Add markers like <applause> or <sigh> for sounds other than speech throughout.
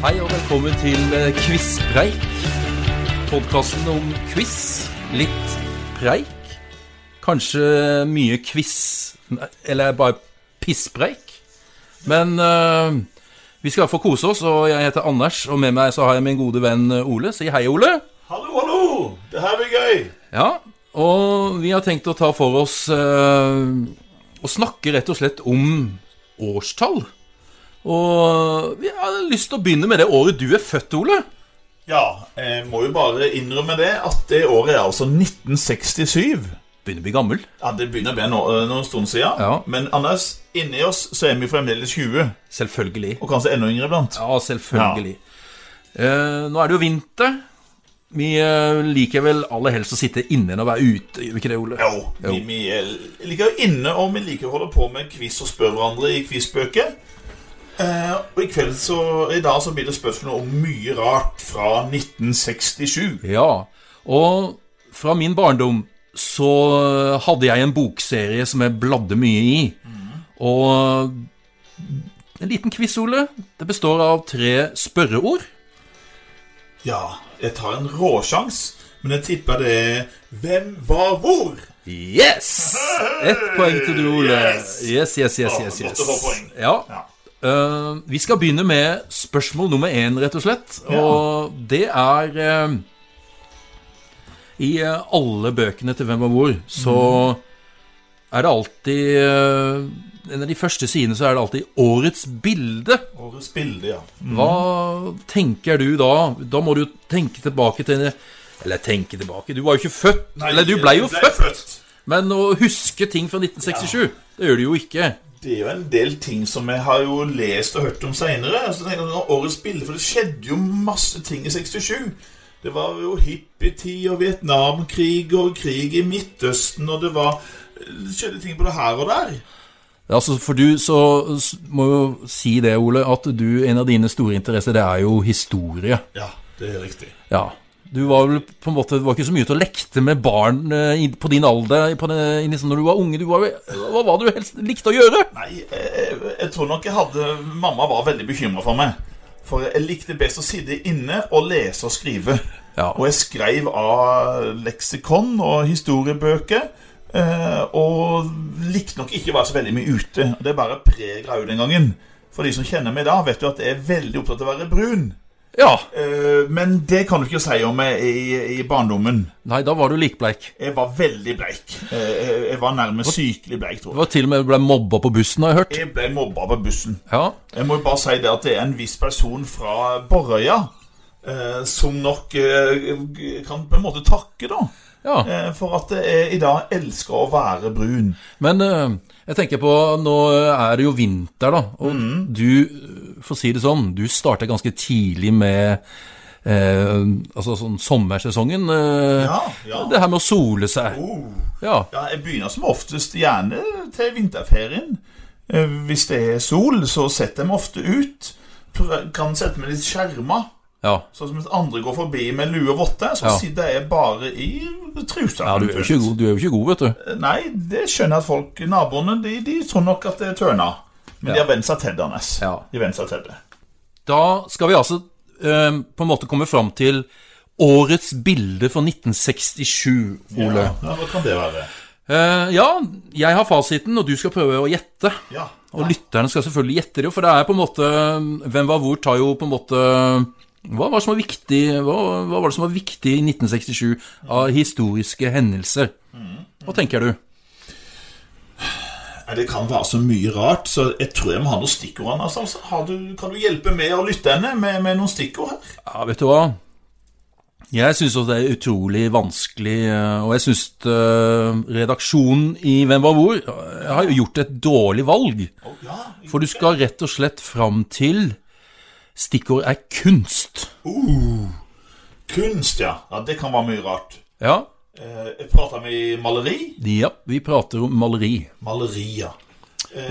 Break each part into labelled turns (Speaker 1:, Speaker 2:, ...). Speaker 1: velkommen til eh, Quizpreik. Podkasten om quiz. Litt preik. Kanskje mye quiz, nei, eller bare pisspreik. Men eh, vi skal i hvert fall kose oss, og jeg heter Anders, og med meg så har jeg min gode venn eh, Ole. Si hei, Ole.
Speaker 2: Hallo, hallo! Det her blir gøy!
Speaker 1: Ja, og vi har tenkt å ta for oss eh, Å snakke rett og slett om årstall. Og vi har lyst til å begynne med det året du er født, Ole.
Speaker 2: Ja, jeg må jo bare innrømme det at det året er altså 1967.
Speaker 1: Begynner å bli gammel.
Speaker 2: Ja, Det begynner å bli no noen stund siden.
Speaker 1: Ja.
Speaker 2: Men Anders, inni oss så er vi fremdeles 20,
Speaker 1: Selvfølgelig.
Speaker 2: og kanskje enda yngre iblant.
Speaker 1: Ja, selvfølgelig. Eh, nå er det jo vinter. Vi eh, liker vel aller helst å sitte inne enn å være ute, gjør vi ikke det, Ole?
Speaker 2: Jo, vi, vi er- liker jo inne, og vi liker å holde på med quiz og spørre hverandre i quizbøker. Eh, og i kveld så, i dag så blir det spørsmål om mye rart fra 1967.
Speaker 1: Ja. Og fra min barndom så hadde jeg en bokserie som jeg bladde mye i. Og en liten quiz, Ole. Det består av tre spørreord.
Speaker 2: Ja, jeg tar en råsjans, men jeg tipper det er Hvem var hvor?
Speaker 1: Yes! Ett poeng til du, Ole. Yes,
Speaker 2: Yes!
Speaker 1: yes, yes,
Speaker 2: Å,
Speaker 1: yes,
Speaker 2: godt
Speaker 1: yes.
Speaker 2: å få poeng.
Speaker 1: Ja.
Speaker 2: Ja.
Speaker 1: Eh, vi skal begynne med spørsmål nummer én, rett og slett. Og det er eh, I eh, alle bøkene til Hvem og hvor, så er det alltid eh, En av de første sidene så er det alltid 'Årets bilde'.
Speaker 2: Årets bilde, ja.
Speaker 1: Hva tenker du da? Da må du jo tenke tilbake til Eller tenke tilbake Du var jo ikke født. eller du blei jo født. Men å huske ting fra 1967, det gjør du jo ikke.
Speaker 2: Det er jo en del ting som jeg har jo lest og hørt om seinere. sånn, Årets bilde, for det skjedde jo masse ting i 67. Det var jo hippietid og Vietnamkrig og krig i Midtøsten, og det var det skjedde ting både her og der.
Speaker 1: Ja, Altså, for du så s- må jo si det, Ole, at du, en av dine store interesser, det er jo historie.
Speaker 2: Ja, det er riktig.
Speaker 1: Ja. Du var vel på en måte, det var ikke så mye ute og lekte med barn eh, i- på din alder på den, liksom, når du var unge. Du var, vel- hva var det du helst likte å gjøre?
Speaker 2: Nei, jeg, jeg, jeg tror nok jeg hadde Mamma var veldig bekymra for meg. For jeg likte best å sitte inne og lese og skrive.
Speaker 1: Ja.
Speaker 2: Og jeg skrev av leksikon og historiebøker. eh, Og likte nok ikke å være så veldig mye ute. Og Det bare preget jeg jo den gangen. For de som kjenner meg da, vet jo at jeg er veldig opptatt av å være brun.
Speaker 1: ja.
Speaker 2: Eh, Men det kan du ikke si om meg i, i barndommen.
Speaker 1: Nei, da var du likbleik.
Speaker 2: Jeg var veldig bleik. Eh, Jeg jeg var nærmest sykelig bleik,
Speaker 1: Du
Speaker 2: tror jeg.
Speaker 1: var til og med ble mobba på bussen, har jeg hørt.
Speaker 2: Jeg ble mobba på bussen.
Speaker 1: Ja.
Speaker 2: Jeg må jo bare si det at det er en viss person fra Borøya eh, som nok eh, kan på en måte takke, da.
Speaker 1: ja.
Speaker 2: Eh, for at jeg i dag elsker å være brun.
Speaker 1: Men eh, jeg tenker på, nå er det jo vinter da, og
Speaker 2: Mm.
Speaker 1: du, eh, for å si det sånn, du startet ganske tidlig med eh, altså sånn sommersesongen. eh,
Speaker 2: Ja, ja.
Speaker 1: Det her med å sole seg.
Speaker 2: Oh.
Speaker 1: Ja,
Speaker 2: Ja, jeg begynner som oftest gjerne til vinterferien. Eh, hvis det er sol, så setter jeg meg ofte ut. Prø- Kan sette meg litt skjerma.
Speaker 1: ja.
Speaker 2: Sånn som at andre går forbi med lue og votte, så
Speaker 1: Ja.
Speaker 2: sitter jeg bare i trusa.
Speaker 1: ja du, er jo ikke god, du er jo ikke god, vet du.
Speaker 2: Nei, det skjønner jeg at folk, naboene, de, de tror nok at det er tørna. Men de har vent seg til det, Anders.
Speaker 1: Ja.
Speaker 2: De har vent seg til det.
Speaker 1: Da skal vi altså eh, på en måte komme fram til årets bilde fra 1967, Ole.
Speaker 2: Ja, hva kan det være?
Speaker 1: Eh, ja, jeg har fasiten, og du skal prøve å gjette.
Speaker 2: Ja.
Speaker 1: Og lytterne skal selvfølgelig gjette det, for det er på en måte Hvem var hvor tar jo på en måte Hva var det som var viktig, hva, hva var det som var viktig i 1967 av historiske hendelser? Hva tenker du?
Speaker 2: Nei, Det kan være så mye rart, så jeg tror jeg må ha noen stikkord, Anders. Altså. Har du, kan du hjelpe meg og lytterne med, med noen stikkord her?
Speaker 1: Ja, vet du hva? Jeg syns også det er utrolig vanskelig, eh, og jeg syns redaksjonen i Hvem var hvor eh, har jo gjort et dårlig valg.
Speaker 2: Å, ja.
Speaker 1: For du skal rett og slett fram til Stikkord er kunst.
Speaker 2: Kunst, ja. ja. Det kan være mye rart.
Speaker 1: Ja,
Speaker 2: Eh, Jeg prata med maleri.
Speaker 1: ja vi prater om maleri.
Speaker 2: Maleri, ja.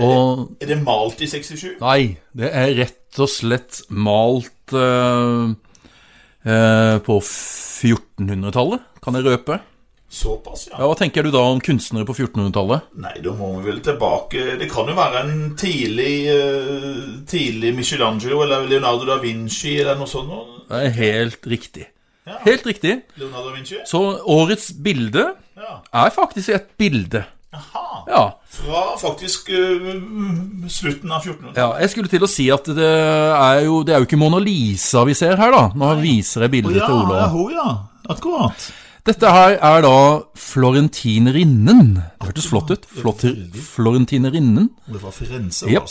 Speaker 1: Og
Speaker 2: Er det malt i 67?
Speaker 1: Nei, det er rett og slett malt eh, eh, på 1400-tallet, kan jeg røpe.
Speaker 2: Såpass, ja.
Speaker 1: Ja, Hva tenker du da om kunstnere på 1400-tallet?
Speaker 2: Nei, da må vi vel tilbake Det kan jo være en tidlig eh, Tidlig Michelangelo eller Leonardo da Vinci eller noe sånt. nå.
Speaker 1: Det er helt riktig.
Speaker 2: Ja.
Speaker 1: Helt riktig.
Speaker 2: Leonardo da Vinci?
Speaker 1: Så årets bilde
Speaker 2: Ja.
Speaker 1: er faktisk et bilde.
Speaker 2: Aha.
Speaker 1: Ja.
Speaker 2: Fra faktisk eh, slutten av 1400.
Speaker 1: ja. Jeg skulle til å si at det er jo, det er jo ikke Mona Lisa vi ser her, da. Nå viser jeg bildet til Ola.
Speaker 2: hun, ja. Akkurat.
Speaker 1: Dette her er da Florentinerinnen. Det hørtes flott ut. Flott, Florentinerinnen.
Speaker 2: Det var Firenze,
Speaker 1: Jep.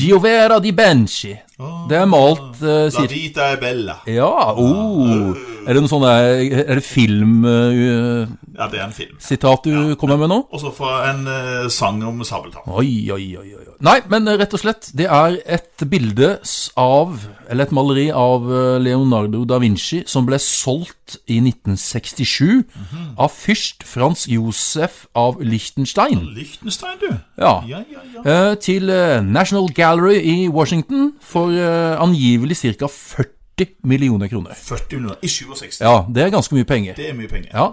Speaker 1: Giovera di Benci. Det er malt uh,
Speaker 2: La
Speaker 1: cirka
Speaker 2: vita è bella.
Speaker 1: Ja, oh. Er det noe sånn der Er det filmsitat
Speaker 2: Ja, det er en film.
Speaker 1: du kommer med nå?
Speaker 2: Også fra en eh, sang om sabeltann.
Speaker 1: Oi, oi, oi, oi. oi. Nei, men eh, rett og slett, det er et bilde s- av, eller et maleri av eh, Leonardo da Vinci som ble solgt i 1967 av fyrst Frans Josef av Liechtenstein.
Speaker 2: Liechtenstein, du.
Speaker 1: Ja.
Speaker 2: Ja, ja, ja.
Speaker 1: Eh, Til eh, National Gallery i Washington for eh, angivelig ca. 40 millioner kroner.
Speaker 2: 40 millioner. I 67.
Speaker 1: Ja, det er ganske mye penger.
Speaker 2: Det er mye penger.
Speaker 1: Ja.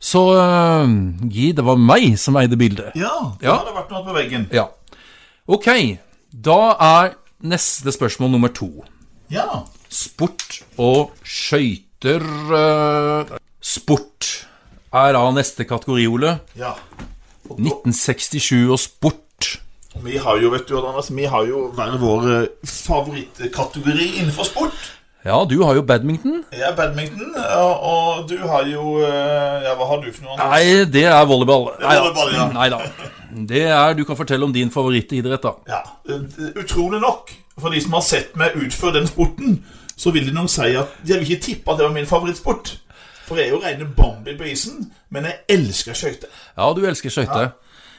Speaker 1: Så eh, Gi, det var meg som eide bildet.
Speaker 2: Ja, det
Speaker 1: Ja.
Speaker 2: hadde vært noe på veggen.
Speaker 1: Ja. Ok, da er neste spørsmål nummer to.
Speaker 2: Ja.
Speaker 1: Sport og skøyter eh, Sport er da neste kategori, Ole.
Speaker 2: ja.
Speaker 1: 1967 og sport.
Speaker 2: Vi har jo, vet du, Odd Anders, vi har jo hver vår eh, favorittkategori innenfor sport.
Speaker 1: Ja, du har jo badminton.
Speaker 2: Jeg er badminton, eh, og, og du har jo eh, Ja, hva har du for noe? Anders?
Speaker 1: Nei, det er volleyball. Nei
Speaker 2: volleyball,
Speaker 1: <laughs>
Speaker 2: ja.
Speaker 1: da. Det er Du kan fortelle om din favorittidrett, da.
Speaker 2: Ja, eh, Utrolig nok, for de som har sett meg utføre den sporten, så vil de nok si at jeg vil ikke tippe at det var min favorittsport. For jeg er jo rene Bambi på isen, men jeg elsker skøyter.
Speaker 1: Ja, du elsker skøyter.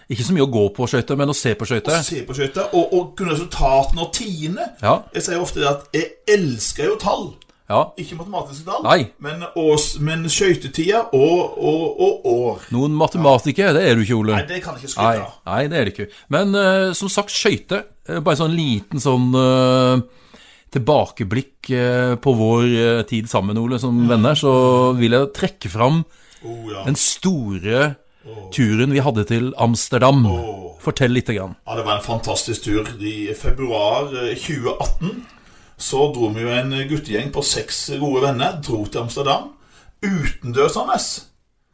Speaker 1: Ikke så mye å gå på skøyter, men å se på skøyter.
Speaker 2: Se på skøyter, og, og kunne resultatene og tiende.
Speaker 1: Ja.
Speaker 2: Jeg sier ofte det at jeg elsker jo tall.
Speaker 1: Ja.
Speaker 2: Ikke matematiske tall,
Speaker 1: Nei.
Speaker 2: men, års, men skøytetida og, og, og år.
Speaker 1: Noen matematiker, det er du ikke, Ole.
Speaker 2: Nei, det kan jeg ikke
Speaker 1: Nei,
Speaker 2: skryte av.
Speaker 1: nei, det er det ikke. Men eh, som sagt, skøyter. eh, bare sånn liten sånn eh, tilbakeblikk eh, på vår eh, tid sammen, Ole, som venner, så vil jeg trekke fram
Speaker 2: Oh, ja.
Speaker 1: den store turen vi hadde til Amsterdam. Fortell lite grann.
Speaker 2: Ja, det var en fantastisk tur. I februar eh, 2018 så dro vi jo en guttegjeng på seks gode venner, dro til Amsterdam. Utendørs, Anders.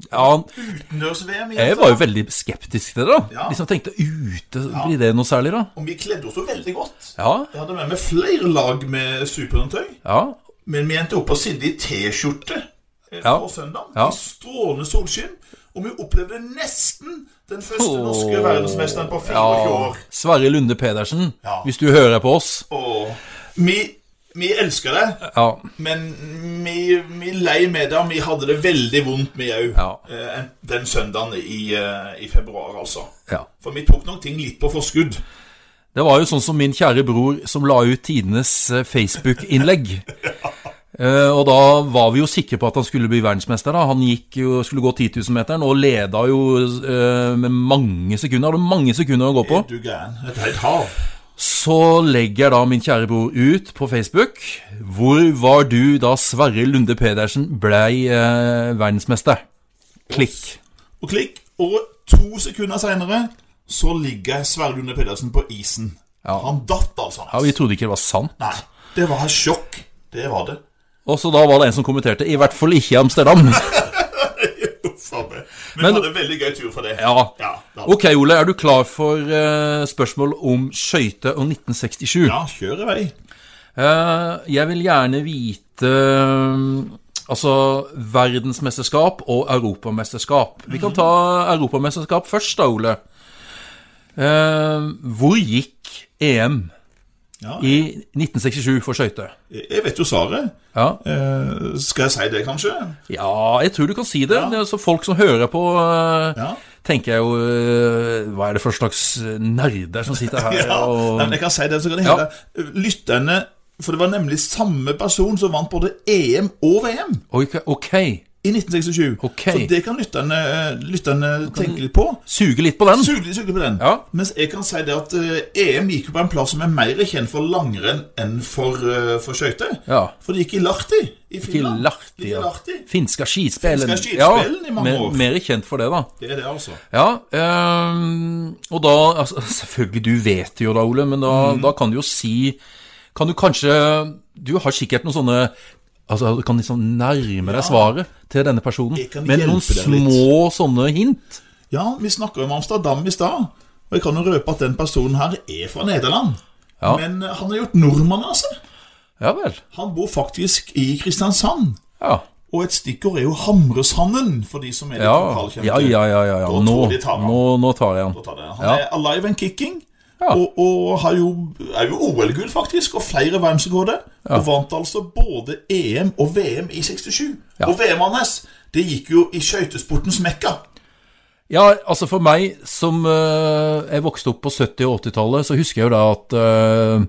Speaker 1: Ja,
Speaker 2: Utendørs-VM i
Speaker 1: jeg var jo
Speaker 2: Amsterdam.
Speaker 1: veldig skeptisk til det, da.
Speaker 2: Ja.
Speaker 1: Liksom tenkte ute, blir det noe særlig, da?
Speaker 2: Og vi kledde oss jo veldig godt.
Speaker 1: Ja,
Speaker 2: Jeg hadde med meg flere lag med superhåndtøy,
Speaker 1: ja.
Speaker 2: men vi endte opp å sitte i T-skjorte eh,
Speaker 1: Ja.
Speaker 2: på søndag.
Speaker 1: Ja.
Speaker 2: I strålende solskinn. Og vi opplevde nesten den første norske
Speaker 1: Åh.
Speaker 2: verdensmesteren på 24
Speaker 1: ja.
Speaker 2: år.
Speaker 1: Sverre Lunde Pedersen,
Speaker 2: Ja.
Speaker 1: hvis du hører på oss.
Speaker 2: Åh. Vi, vi elsker det.
Speaker 1: Ja,
Speaker 2: Men vi, vi lei med det, og vi hadde det veldig vondt, vi òg,
Speaker 1: Ja.
Speaker 2: eh, den søndagen i, eh, i februar, altså.
Speaker 1: ja.
Speaker 2: For vi tok noen ting litt på forskudd.
Speaker 1: Det var jo sånn som min kjære bror som la ut tidenes eh, Facebook-innlegg.
Speaker 2: <laughs>
Speaker 1: Eh, og da var vi jo sikre på at han skulle bli verdensmester. da Han gikk jo, skulle gå 10 000-meteren og leda jo eh, med mange sekunder. Hadde mange sekunder å gå på.
Speaker 2: Du gæren. Et helt hav.
Speaker 1: Så legger da min kjære bror ut på Facebook Hvor var du da Sverre Lunde Pedersen blei eh, verdensmester? Klikk.
Speaker 2: Og klikk, og to sekunder seinere så ligger Sverre Lunde Pedersen på isen. Han datt, altså.
Speaker 1: Ja, Vi trodde ikke det var sant.
Speaker 2: Nei, det var et sjokk. Det var det. <laughs>
Speaker 1: Og så da var det en som kommenterte 'I hvert fall ikke i Amsterdam'.
Speaker 2: Faen meg. Men,
Speaker 1: Men-
Speaker 2: vi hadde en veldig gøy tur for det.
Speaker 1: Ja.
Speaker 2: ja, da.
Speaker 1: Ok, Ole, er du klar for eh, spørsmål om skøyter og 1967?
Speaker 2: ja kjør i vei.
Speaker 1: Eh, jeg vil gjerne vite eh, Altså verdensmesterskap og europamesterskap. Vi kan ta europamesterskap først, da, Ole. Eh, hvor gikk EM
Speaker 2: Ja.
Speaker 1: i 1967 for skøyter?
Speaker 2: Jeg vet jo svaret.
Speaker 1: Ja.
Speaker 2: Eh, skal jeg si det, kanskje?
Speaker 1: ja, jeg tror du kan si det. det er så folk som hører på, eh,
Speaker 2: Ja.
Speaker 1: tenker jeg jo eh, Hva er det for slags nerder som sitter her
Speaker 2: <laughs> Ja,
Speaker 1: og
Speaker 2: nei, men jeg kan si det, så kan det hele lytterne For det var nemlig samme person som vant både EM og VM.
Speaker 1: Ok, ok.
Speaker 2: i 1967.
Speaker 1: Ok.
Speaker 2: Så det kan lytterne, eh, lytterne tenke litt på.
Speaker 1: Suge litt på den.
Speaker 2: Sug litt sug litt på den.
Speaker 1: Ja.
Speaker 2: Mens jeg kan si det at eh, EM gikk jo på en plass som er mer kjent for langrenn enn for, eh, for skøyter.
Speaker 1: Ja.
Speaker 2: For det gikk i Lahti i Finland.
Speaker 1: Lahti,
Speaker 2: Ligger i
Speaker 1: ja.
Speaker 2: Lahti.
Speaker 1: Finska skispillen.
Speaker 2: Finska skispillen i mange
Speaker 1: mer,
Speaker 2: år.
Speaker 1: Mer kjent for det, da.
Speaker 2: Det er det, altså.
Speaker 1: Ja, øhm, og da altså, Selvfølgelig, du vet det jo da, Ole, men da,
Speaker 2: Mhm.
Speaker 1: da kan du jo si Kan du kanskje Du har sikkert noen sånne Altså, Du kan liksom nærme deg svaret til denne personen
Speaker 2: Jeg kan
Speaker 1: med
Speaker 2: hjelpe
Speaker 1: noen
Speaker 2: deg litt.
Speaker 1: små sånne hint.
Speaker 2: Ja, vi snakka om Amsterdam i stad. Og jeg kan jo røpe at den personen her er fra Nederland.
Speaker 1: Ja.
Speaker 2: Men eh, han er gjort nordmann, altså.
Speaker 1: Ja vel.
Speaker 2: Han bor faktisk i Kristiansand.
Speaker 1: Ja.
Speaker 2: Og et stikkord er jo Hamresanden, for de som er litt
Speaker 1: Ja,
Speaker 2: lokalkjente.
Speaker 1: ja, ja. ja, ja, ja.
Speaker 2: Da
Speaker 1: Nå,
Speaker 2: tror de tar han.
Speaker 1: nå, nå tar jeg
Speaker 2: å
Speaker 1: han.
Speaker 2: ta det. Han
Speaker 1: Ja.
Speaker 2: er alive and kicking,
Speaker 1: Ja.
Speaker 2: og, og har jo, er jo OL-gull, faktisk, og flere Wamser-gårde. Og vant altså både EM og VM i 67.
Speaker 1: Ja.
Speaker 2: Og VM hans, det gikk jo i skøytesportens mekka.
Speaker 1: Ja, altså for meg som eh, jeg vokste opp på 70- og 80-tallet, så husker jeg jo da at eh,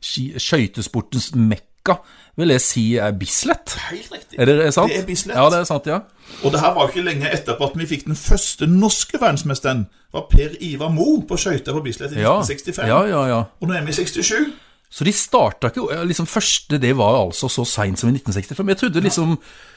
Speaker 1: ski- skøytesportens mekka, vil jeg si, er Bislett.
Speaker 2: Helt riktig.
Speaker 1: Er det er sant?
Speaker 2: Det er Bislett.
Speaker 1: Ja, det er sant, ja.
Speaker 2: Og det her var jo ikke lenge etterpå at vi fikk den første norske verdensmesteren. var Per Ivar Moe på skøyter på Bislett i
Speaker 1: ja.
Speaker 2: 1965.
Speaker 1: Ja, ja, ja.
Speaker 2: Og nå er vi i 67.
Speaker 1: Så de starta ikke ja, liksom Første det var altså så seint som i 1965. Jeg trodde liksom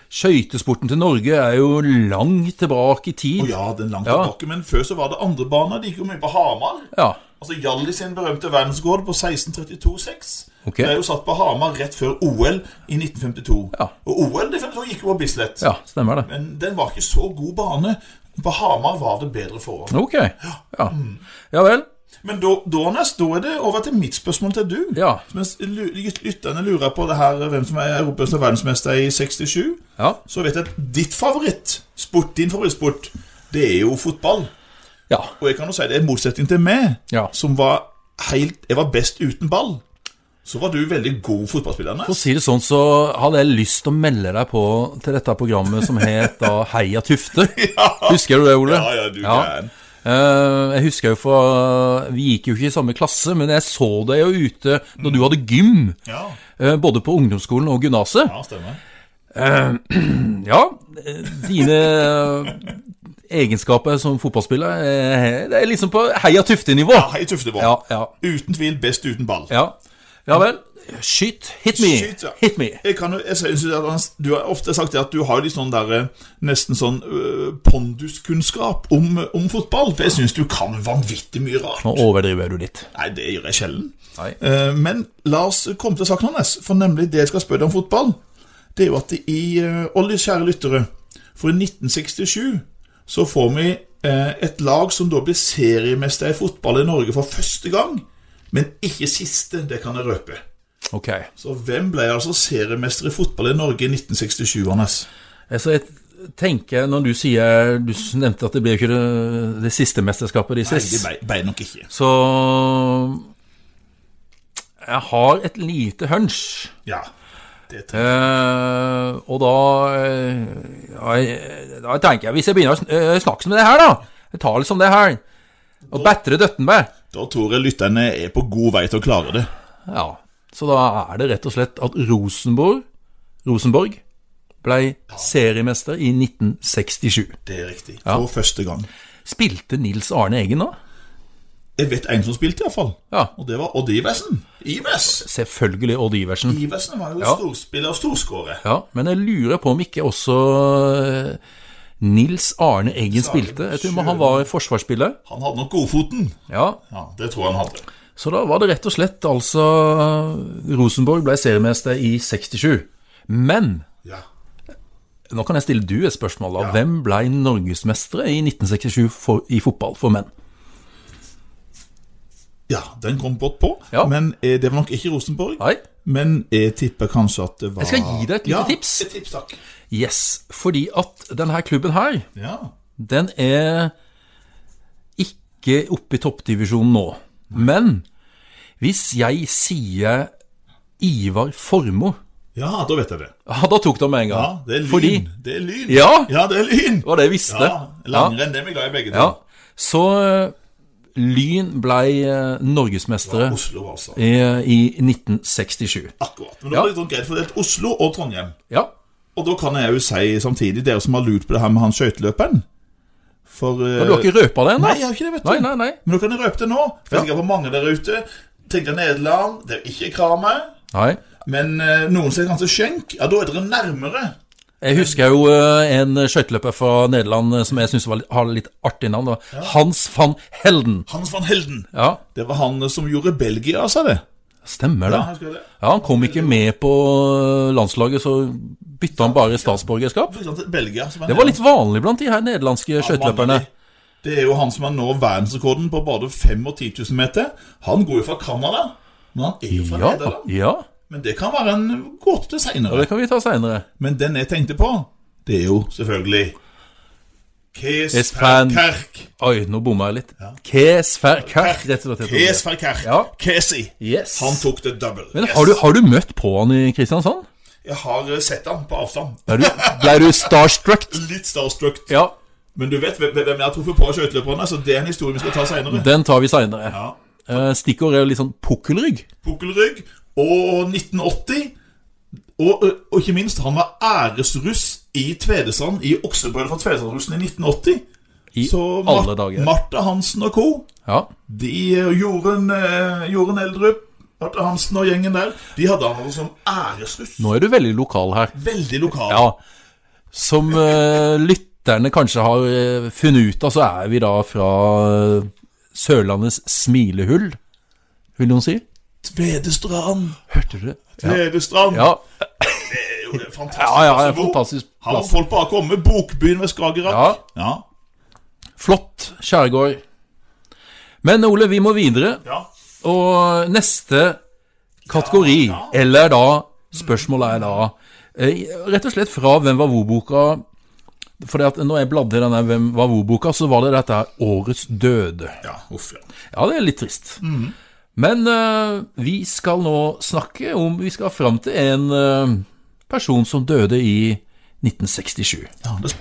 Speaker 1: skøytesporten til Norge er jo langt tilbake i tid.
Speaker 2: Å ja, den langt
Speaker 1: Ja.
Speaker 2: tilbake. Men før så var det andre baner. De gikk jo mye på Hamar.
Speaker 1: Ja.
Speaker 2: Altså Hjalli sin berømte verdensgård på 1632-6
Speaker 1: Ok.
Speaker 2: ble jo satt på Hamar rett før OL i 1952.
Speaker 1: Ja.
Speaker 2: Og OL i 52 gikk jo på Bislett.
Speaker 1: ja, stemmer det.
Speaker 2: Men den var ikke så god bane. På Hamar var det bedre forhold.
Speaker 1: Ok. Ja,
Speaker 2: Mm.
Speaker 1: ja vel.
Speaker 2: Men da, da, Anders, da er det over til mitt spørsmål til du.
Speaker 1: Ja.
Speaker 2: Mens lu- lyt- lytterne lurer på det her, hvem som er europamester og verdensmester i 67,
Speaker 1: Ja.
Speaker 2: så vet jeg at ditt favoritt, sport, din favorittsport, det er jo fotball.
Speaker 1: Ja.
Speaker 2: Og jeg kan jo si det er motsetning til meg,
Speaker 1: Ja.
Speaker 2: som var helt Jeg var best uten ball. Så var du veldig god fotballspiller.
Speaker 1: For å
Speaker 2: Anders.
Speaker 1: si det sånn, så hadde jeg lyst til å melde deg på til dette programmet som het da Heia
Speaker 2: <laughs>
Speaker 1: Tufte. Husker du det, Ole?
Speaker 2: Ja, ja, du gæren.
Speaker 1: Eh, Jeg husker jo fra Vi gikk jo ikke i samme klasse, men jeg så deg jo ute når du hadde gym.
Speaker 2: Ja,
Speaker 1: eh, Både på ungdomsskolen og gymnaset.
Speaker 2: ja, stemmer.
Speaker 1: Ja, eh, dine eh, egenskaper som fotballspiller eh, Det er liksom på Heia Tufte-nivå.
Speaker 2: Ja, Hei, Tufte Bård.
Speaker 1: Ja, ja,
Speaker 2: Uten tvil best uten ball.
Speaker 1: ja. Ja vel. Skyt. Hit me.
Speaker 2: Skyt, ja.
Speaker 1: Hit me.
Speaker 2: Jeg kan jo, jeg synes at Anders, Du har ofte sagt det at du har litt sånn der, eh, nesten sånn øh, ponduskunnskap om, eh, om fotball. For jeg syns du kan vanvittig mye rart.
Speaker 1: Nå overdriver du litt.
Speaker 2: Nei, det gjør jeg sjelden.
Speaker 1: Nei.
Speaker 2: Eh, Men la oss komme til saken hans, for nemlig det jeg skal spørre deg om fotball, det er jo at i eh, Og litt kjære lyttere, for i 1967 så får vi eh, et lag som da blir seriemester i fotball i Norge for første gang, men ikke siste, det kan jeg røpe.
Speaker 1: Ok.
Speaker 2: Så hvem ble altså seriemester i fotball i Norge i 1967, Anders?
Speaker 1: Altså, jeg tenker, når du sier Du nevnte at det ble jo ikke det, det siste mesterskapet
Speaker 2: Nei,
Speaker 1: deres.
Speaker 2: det ble, ble nok ikke.
Speaker 1: Så Jeg har et lite hunch.
Speaker 2: Ja. Det
Speaker 1: Eh,
Speaker 2: tror jeg.
Speaker 1: og da eh, ja, jeg- Da tenker jeg Hvis jeg begynner å sn- eh, snakke som det her, da Jeg tar det som det her. Og batre Døttenberg.
Speaker 2: Da tror jeg lytterne er på god vei til å klare det.
Speaker 1: Ja. Så da er det rett og slett at Rosenborg Rosenborg ble seriemester i 1967.
Speaker 2: Det er riktig. For første gang.
Speaker 1: Spilte Nils Arne Eggen da?
Speaker 2: Jeg vet en som spilte, iallfall.
Speaker 1: Ja.
Speaker 2: Og det var Odd Iversen. Ivers!
Speaker 1: Selvfølgelig Odd Iversen.
Speaker 2: Iversen var jo
Speaker 1: Ja.
Speaker 2: storspiller og storskårer.
Speaker 1: Ja, men jeg lurer på om ikke også eh, Nils Arne Eggen
Speaker 2: Sagen
Speaker 1: spilte. Jeg tror han var forsvarsspiller.
Speaker 2: Han hadde nok godfoten.
Speaker 1: Ja,
Speaker 2: Ja, Det tror jeg han hadde.
Speaker 1: Så da var det rett og slett altså Rosenborg ble seriemester i 67. Men
Speaker 2: Ja.
Speaker 1: nå kan jeg stille du et spørsmål. da. Hvem ble norgesmestere i 1967 for, i fotball for menn?
Speaker 2: ja, den kom brått på.
Speaker 1: Ja.
Speaker 2: Men eh, det var nok ikke Rosenborg.
Speaker 1: Nei?
Speaker 2: Men jeg tipper kanskje at det var
Speaker 1: Jeg skal gi deg et lite
Speaker 2: ja,
Speaker 1: tips.
Speaker 2: Et tips, takk.
Speaker 1: Yes, fordi at denne klubben her,
Speaker 2: Ja.
Speaker 1: den er ikke oppe i toppdivisjonen nå. Men hvis jeg sier Ivar Formoe <laughs>
Speaker 2: ja, da vet jeg det.
Speaker 1: Ja, da tok de med en gang.
Speaker 2: Ja, Det er lyn.
Speaker 1: Fordi
Speaker 2: Det er lyn.
Speaker 1: Ja!
Speaker 2: ja det er lyn.
Speaker 1: det var det jeg visste.
Speaker 2: Ja, Langrenn, det er vi glad i begge
Speaker 1: Ja.
Speaker 2: to.
Speaker 1: Så eh, Lyn ble eh, norgesmestere
Speaker 2: Oslo, altså.
Speaker 1: i, i 1967.
Speaker 2: Akkurat. Men det var litt sånn greit fordelt. Oslo og Trondheim.
Speaker 1: Ja.
Speaker 2: Og da kan jeg jo si samtidig, dere som har lurt på det her med han skøyteløperen For
Speaker 1: Og du har ikke røpa det ennå?
Speaker 2: Eh, Nei, jeg har ikke det, vet du.
Speaker 1: Nei, nei, nei.
Speaker 2: Men nå kan jeg røpe det nå. For
Speaker 1: Ja.
Speaker 2: jeg er sikker på mange der ute tenker Nederland, det er jo ikke Kramer.
Speaker 1: nei.
Speaker 2: Men eh, noen sier kanskje Skjenk. Ja, da er dere nærmere.
Speaker 1: Jeg husker jo eh, en skøyteløper fra Nederland eh, som jeg syns har litt artig navn. da. Hans van Helden.
Speaker 2: Hans van Helden.
Speaker 1: Ja,
Speaker 2: Det var han som gjorde Belgia av seg, det.
Speaker 1: stemmer det.
Speaker 2: Ja, husker du det?
Speaker 1: Ja, Han kom ikke med på eh, landslaget, så bytta han bare statsborgerskap.
Speaker 2: For eksempel Belgia. Som er
Speaker 1: Det var litt vanlig blant de her nederlandske skøyteløperne.
Speaker 2: Det er jo han som har nå verdensrekorden på både 5 og 10 000 meter. Han går jo fra Canada, men han er jo fra
Speaker 1: Ja,
Speaker 2: Nederland.
Speaker 1: ja,
Speaker 2: Men det kan være en gåte til seinere.
Speaker 1: det kan vi ta seinere.
Speaker 2: Men den jeg tenkte på, det er jo selvfølgelig Kees
Speaker 1: Kees van-
Speaker 2: Kerk.
Speaker 1: Oi, nå bomma jeg litt. Kes Ferkær, rett og slett. heter
Speaker 2: Kees
Speaker 1: det.
Speaker 2: van Kerk.
Speaker 1: Ja.
Speaker 2: Casey.
Speaker 1: Yes.
Speaker 2: Han tok det double.
Speaker 1: Men
Speaker 2: Yes.
Speaker 1: har du, har du møtt på han i Kristiansand?
Speaker 2: Jeg har eh, sett han på avstand.
Speaker 1: Ble du, ble du starstruck?
Speaker 2: Litt starstruck.
Speaker 1: Ja,
Speaker 2: Men du vet hvem hvem jeg har truffet på av skøyteløperne, så det er en historie vi skal ta seinere.
Speaker 1: den tar vi seinere.
Speaker 2: Ja.
Speaker 1: Eh, Stikkord er jo litt sånn pukkelrygg.
Speaker 2: Pukkelrygg og 1980. Og, eh, og ikke minst, han var æresruss i Tvedestrand, i Oksebøl fra Tvedestrandrussen i 1980.
Speaker 1: I
Speaker 2: Så Mar-
Speaker 1: alle dager.
Speaker 2: Martha Hansen og co.
Speaker 1: Ja.
Speaker 2: De eh, Jorunn, eh, Jorunn Eldrup, Marte Hansen og gjengen der, de hadde han som æresruss.
Speaker 1: Nå er du veldig lokal her.
Speaker 2: Veldig lokal.
Speaker 1: Ja. Som eh, lytterne kanskje har eh, funnet ut av, så er vi da fra eh, Sørlandets smilehull, vil noen si.
Speaker 2: Tvedestrand,
Speaker 1: Hørte du det? Ja.
Speaker 2: Tvedestrand.
Speaker 1: Ja, Ah,
Speaker 2: Det er jo en fantastisk.
Speaker 1: ja, ja en
Speaker 2: hvor-
Speaker 1: fantastisk
Speaker 2: Her har
Speaker 1: plass.
Speaker 2: folk bare kommet. Bokbyen ved Skagerrak.
Speaker 1: Ja.
Speaker 2: ja.
Speaker 1: Flott skjærgård. Men Ole, vi må videre.
Speaker 2: ja.
Speaker 1: Og neste kategori,
Speaker 2: Ja,
Speaker 1: eller da Spørsmålet er da eh, rett og slett fra Hvem var hvor-boka Fordi at når jeg bladde i denne Hvem var hvor-boka, så var det dette her, Årets døde.
Speaker 2: Ja, uff, ja.
Speaker 1: Ja, det er litt trist. Men eh, vi skal nå snakke om Vi skal fram til en eh, person som døde i 1967.
Speaker 2: Ja, det...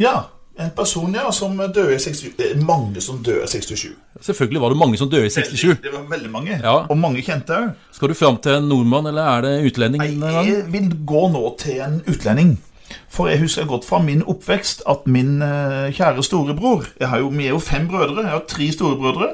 Speaker 2: ja. En person ja, som døde i 67 Det er mange som døde i 67.
Speaker 1: Selvfølgelig var det mange som døde i 67.
Speaker 2: Det var veldig mange.
Speaker 1: Ja.
Speaker 2: Og mange kjente òg.
Speaker 1: Skal du fram til en nordmann, eller er det utlending? denne gangen?
Speaker 2: Jeg vil gå nå til en utlending. For jeg husker godt fra min oppvekst at min eh, kjære storebror jeg har jo, Vi er jo fem brødre. Jeg har tre storebrødre.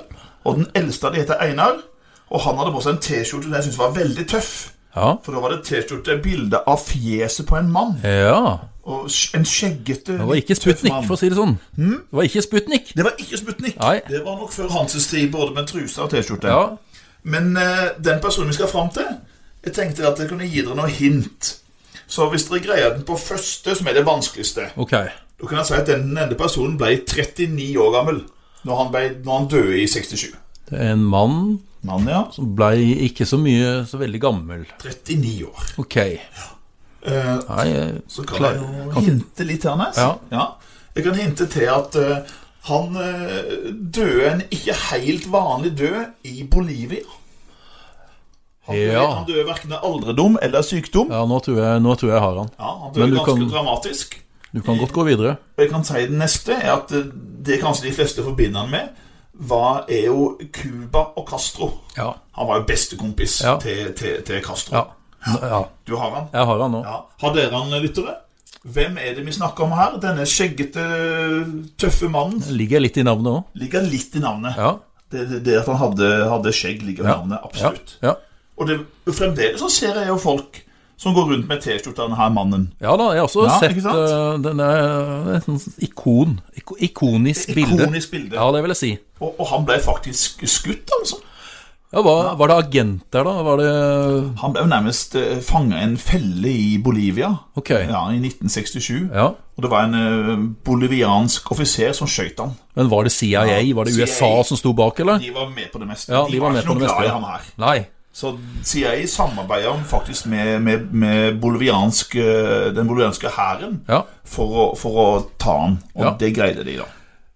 Speaker 2: Og den eldste av de heter Einar. Og han hadde på seg en T-skjorte som jeg syntes var veldig tøff.
Speaker 1: Ja.
Speaker 2: For da var det T-skjorte bilde av fjeset på en mann.
Speaker 1: ja.
Speaker 2: Og sk- en skjeggete
Speaker 1: Det var ikke Sputnik, for å si det sånn. Det var ikke Sputnik.
Speaker 2: Det var ikke Sputnik.
Speaker 1: Nei.
Speaker 2: Det var nok før Hansens tid, både med truse og T-skjorte.
Speaker 1: Ja.
Speaker 2: Men eh, den personen vi skal fram til Jeg tenkte at jeg kunne gi dere noe hint Så hvis dere greier den på første Som er det vanskeligste
Speaker 1: Ok.
Speaker 2: Da kan jeg si at den ene personen ble 39 år gammel Når han, ble, når han døde i 67
Speaker 1: Det er en mann
Speaker 2: Mann, ja
Speaker 1: som blei ikke så mye så veldig gammel.
Speaker 2: 39 år
Speaker 1: Ok.
Speaker 2: Eh,
Speaker 1: Nei, eh,
Speaker 2: Så kan
Speaker 1: Klar-
Speaker 2: jeg jo
Speaker 1: kan ikke-
Speaker 2: hinte litt her, Nes
Speaker 1: Ja.
Speaker 2: Jeg kan hinte til at eh, han eh, døde en ikke helt vanlig død i Bolivia. Han døde,
Speaker 1: Ja.
Speaker 2: han døde verken av alderdom eller sykdom.
Speaker 1: ja, nå tror, jeg, nå tror jeg jeg har han.
Speaker 2: Ja, han
Speaker 1: Men
Speaker 2: døde
Speaker 1: du
Speaker 2: ganske
Speaker 1: kan-
Speaker 2: dramatisk.
Speaker 1: Du kan godt gå videre.
Speaker 2: Og jeg kan si den neste er at eh, det kanskje de fleste forbinder han med, var, er jo Cuba og Castro.
Speaker 1: Ja.
Speaker 2: Han var jo bestekompis
Speaker 1: Ja.
Speaker 2: til, til, til Castro.
Speaker 1: Ja. Nå- ja.
Speaker 2: Du har han.
Speaker 1: Jeg har han nå.
Speaker 2: Ja. Har dere han, eh, lyttere? Hvem er det vi snakker om her? Denne skjeggete, tøffe mannen
Speaker 1: Ligger jeg litt i navnet òg?
Speaker 2: ligger litt i navnet.
Speaker 1: Ja.
Speaker 2: Det, det, det at han hadde, hadde skjegg, ligger i
Speaker 1: Ja.
Speaker 2: navnet.
Speaker 1: Ja.
Speaker 2: Absolutt.
Speaker 1: ja.
Speaker 2: Og det, fremdeles så ser jeg jo folk som går rundt med T-skjorta av denne her mannen.
Speaker 1: ja da, jeg har også
Speaker 2: Ja,
Speaker 1: sett
Speaker 2: ikke sant?
Speaker 1: eh, den er et sånt sånn ikon. Iko- ikonisk bilde.
Speaker 2: Ikonisk bilde.
Speaker 1: Ja, det vil jeg si.
Speaker 2: Og, og han ble faktisk skutt, altså.
Speaker 1: Ja, hva, Var det agenter, da? Var det
Speaker 2: Han ble jo nærmest eh, fanget i en felle i Bolivia
Speaker 1: Ok.
Speaker 2: ja, i 1967.
Speaker 1: Ja.
Speaker 2: Og det var en eh, boliviansk offiser som skjøt han.
Speaker 1: Men var det CIA? Var det USA som sto bak, eller?
Speaker 2: De var med på det meste.
Speaker 1: Ja, de var med
Speaker 2: ikke
Speaker 1: på det
Speaker 2: noe glad i
Speaker 1: meste.
Speaker 2: han her.
Speaker 1: Nei.
Speaker 2: Så CIA samarbeider om faktisk med, med, med boliviansk, eh, den bolivianske hæren
Speaker 1: Ja.
Speaker 2: for, å- for å ta han. Og
Speaker 1: Ja.
Speaker 2: det greide de, da.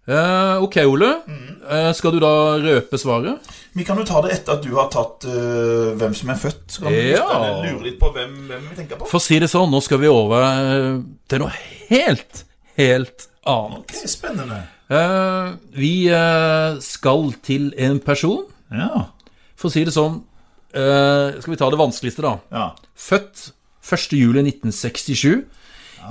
Speaker 1: Eh, ok, Ole. Eh, skal du da røpe svaret?
Speaker 2: Vi kan jo ta det etter at du har tatt eh, hvem som er født. Så kan vi
Speaker 1: Ja.
Speaker 2: ja. lure litt på hvem, hvem vi tenker på.
Speaker 1: For å si det sånn, nå skal vi over eh, til noe helt, helt annet.
Speaker 2: Ok, spennende.
Speaker 1: Eh, vi eh, skal til en person.
Speaker 2: Ja.
Speaker 1: For å si det sånn eh, Skal vi ta det vanskeligste, da.
Speaker 2: ja.
Speaker 1: Født 1.7.1967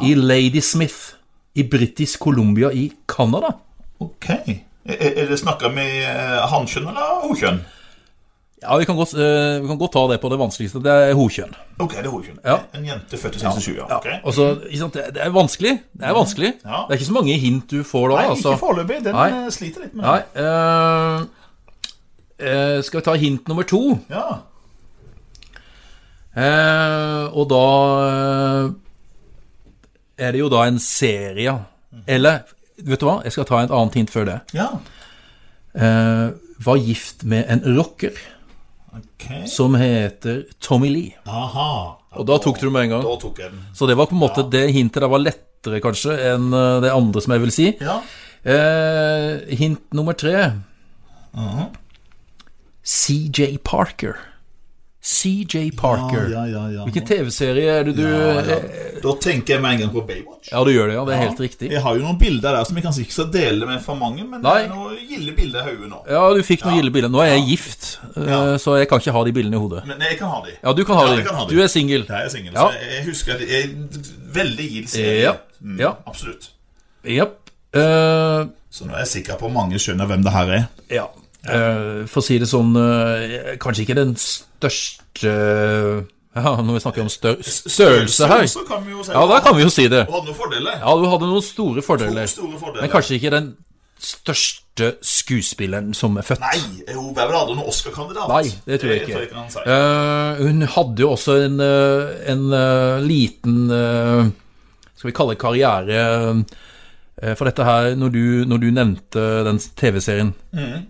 Speaker 1: i Ladysmith i British Columbia i Canada.
Speaker 2: Ok. Er- Er er det snakka med eh, hankjønn eller hokjønn?
Speaker 1: Ja, vi kan, godt, eh, vi kan godt ta det på det vanskeligste. Det er hokjønn.
Speaker 2: Ok, det er hokjønn.
Speaker 1: Ja.
Speaker 2: En jente født i 67, ja. ok. Mm.
Speaker 1: Og så, ikke sant, det- det er vanskelig. Det er vanskelig.
Speaker 2: Ja.
Speaker 1: Det er ikke så mange hint du får da.
Speaker 2: Nei,
Speaker 1: altså.
Speaker 2: ikke foreløpig. Den
Speaker 1: Nei.
Speaker 2: eh, sliter litt med
Speaker 1: Nei, eh, eh, skal vi ta hint nummer to?
Speaker 2: Ja.
Speaker 1: Eh, og da eh, er det jo da en serie. Eller, vet du hva, jeg skal ta et annet hint før det.
Speaker 2: ja.
Speaker 1: Eh, var gift med en rocker
Speaker 2: Ok.
Speaker 1: som heter Tommy Lee.
Speaker 2: Aha.
Speaker 1: Og da tok du det med en gang.
Speaker 2: Da tok jeg den.
Speaker 1: Så det var på en måte det hintet der var lettere, kanskje, enn eh, det andre som jeg vil si.
Speaker 2: Ja.
Speaker 1: Eh, hint nummer tre.
Speaker 2: Mhm.
Speaker 1: CJ Parker. CJ Parker.
Speaker 2: Ja, ja, ja.
Speaker 1: Hvilken TV-serie er det du eh, ja,
Speaker 2: Da tenker jeg med en gang på Baywatch.
Speaker 1: du gjør det, ja. Det er helt riktig.
Speaker 2: Jeg har jo noen bilder der som jeg kanskje ikke skal dele med for mange, men
Speaker 1: Nei.
Speaker 2: det er noen gilde bilder i hodet nå.
Speaker 1: Ja, du fikk noen gilde bilder. Nå er jeg gift, eh,
Speaker 2: Ja.
Speaker 1: så jeg kan ikke ha de bildene i hodet.
Speaker 2: Men jeg kan ha de.
Speaker 1: Ja, du kan ha
Speaker 2: Ja,
Speaker 1: de.
Speaker 2: jeg kan ha de.
Speaker 1: Du er singel.
Speaker 2: Jeg er singel,
Speaker 1: Ja.
Speaker 2: så jeg- jeg husker det. Jeg veldig gild serie.
Speaker 1: Ja.
Speaker 2: Mm,
Speaker 1: Ja.
Speaker 2: Absolutt.
Speaker 1: Japp. Eh,
Speaker 2: Så nå er jeg sikker på at mange skjønner hvem det her er.
Speaker 1: ja. Eh, for å si det sånn eh, Kanskje ikke den største <laughs> Ja, når vi snakker om stør størrelse her.
Speaker 2: Så kan vi jo si
Speaker 1: Ja, da kan vi jo si det.
Speaker 2: Du hadde noen fordeler.
Speaker 1: Ja, du hadde noen store fordeler.
Speaker 2: Store fordeler.
Speaker 1: Men kanskje ikke den største skuespilleren som er født.
Speaker 2: Nei, hun ble vel aldri noen Oscar-kandidat.
Speaker 1: Nei, det tror jeg ikke.
Speaker 2: ikke han sier.
Speaker 1: Eh, hun hadde jo også en, eh, en eh, liten eh, Skal vi kalle det karriere eh, For dette her, når du, når du nevnte den TV-serien,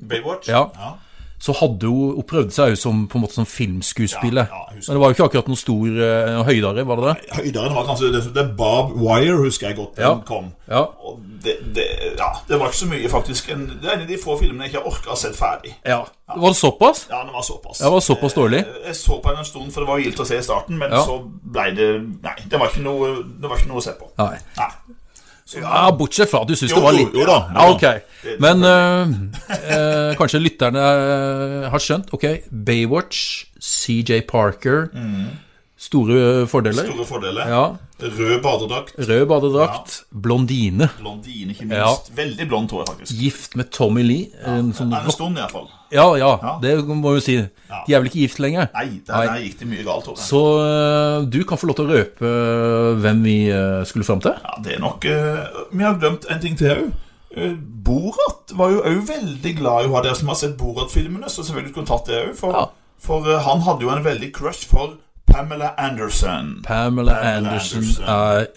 Speaker 2: Baywatch.
Speaker 1: Ja.
Speaker 2: ja.
Speaker 1: så hadde hun Hun prøvde seg jo som på en måte som filmskuespiller.
Speaker 2: Ja, ja, jeg husker.
Speaker 1: Men det var jo ikke akkurat noen stor eh, høydere, var det det?
Speaker 2: Høyderen var kanskje det, det Bob Wire, husker jeg godt, den
Speaker 1: Ja.
Speaker 2: kom.
Speaker 1: Ja.
Speaker 2: Og det, det, ja, det var ikke så mye, faktisk. En, det er en av de få filmene jeg ikke har orka å se ferdig.
Speaker 1: ja. Var det såpass?
Speaker 2: Ja, Eh, den var såpass.
Speaker 1: Det var såpass dårlig?
Speaker 2: Jeg så på den en stund, for det var gildt å se i starten, men
Speaker 1: Ja.
Speaker 2: så blei det Nei, det var ikke noe, det var ikke noe å se på.
Speaker 1: Nei.
Speaker 2: Nei. Så,
Speaker 1: Ja, Ah, bortsett fra at du syns
Speaker 2: Jo,
Speaker 1: det var
Speaker 2: jo,
Speaker 1: litt
Speaker 2: jo da, jo
Speaker 1: Ja,
Speaker 2: da.
Speaker 1: ok. Men eh, eh, kanskje lytterne eh, har skjønt. Ok, Baywatch, CJ Parker.
Speaker 2: Mm.
Speaker 1: Store eh, fordeler.
Speaker 2: Store fordeler.
Speaker 1: Ja.
Speaker 2: Rød badedrakt.
Speaker 1: Rød badedrakt. Blondine.
Speaker 2: Blondine, ikke minst. Veldig blond, tror jeg faktisk.
Speaker 1: Gift med Tommy Lee. En sånn
Speaker 2: Det er en stund, iallfall.
Speaker 1: ja, ja, det må vi jo si. De er vel ikke gift lenger?
Speaker 2: Nei, der, der gikk det mye galt. Tror jeg.
Speaker 1: Så eh, du kan få lov til å røpe hvem vi eh, skulle fram til.
Speaker 2: Ja, det er nok eh, Vi har glemt en ting til òg. Borat var jo òg veldig glad i hun dere som har sett Borat-filmene. Så selvfølgelig kunne tatt det òg, for,
Speaker 1: Ja.
Speaker 2: for eh, han hadde jo en veldig crush for Pamela Anderson.
Speaker 1: Pamela
Speaker 2: Pamela
Speaker 1: Anderson
Speaker 2: Anderson.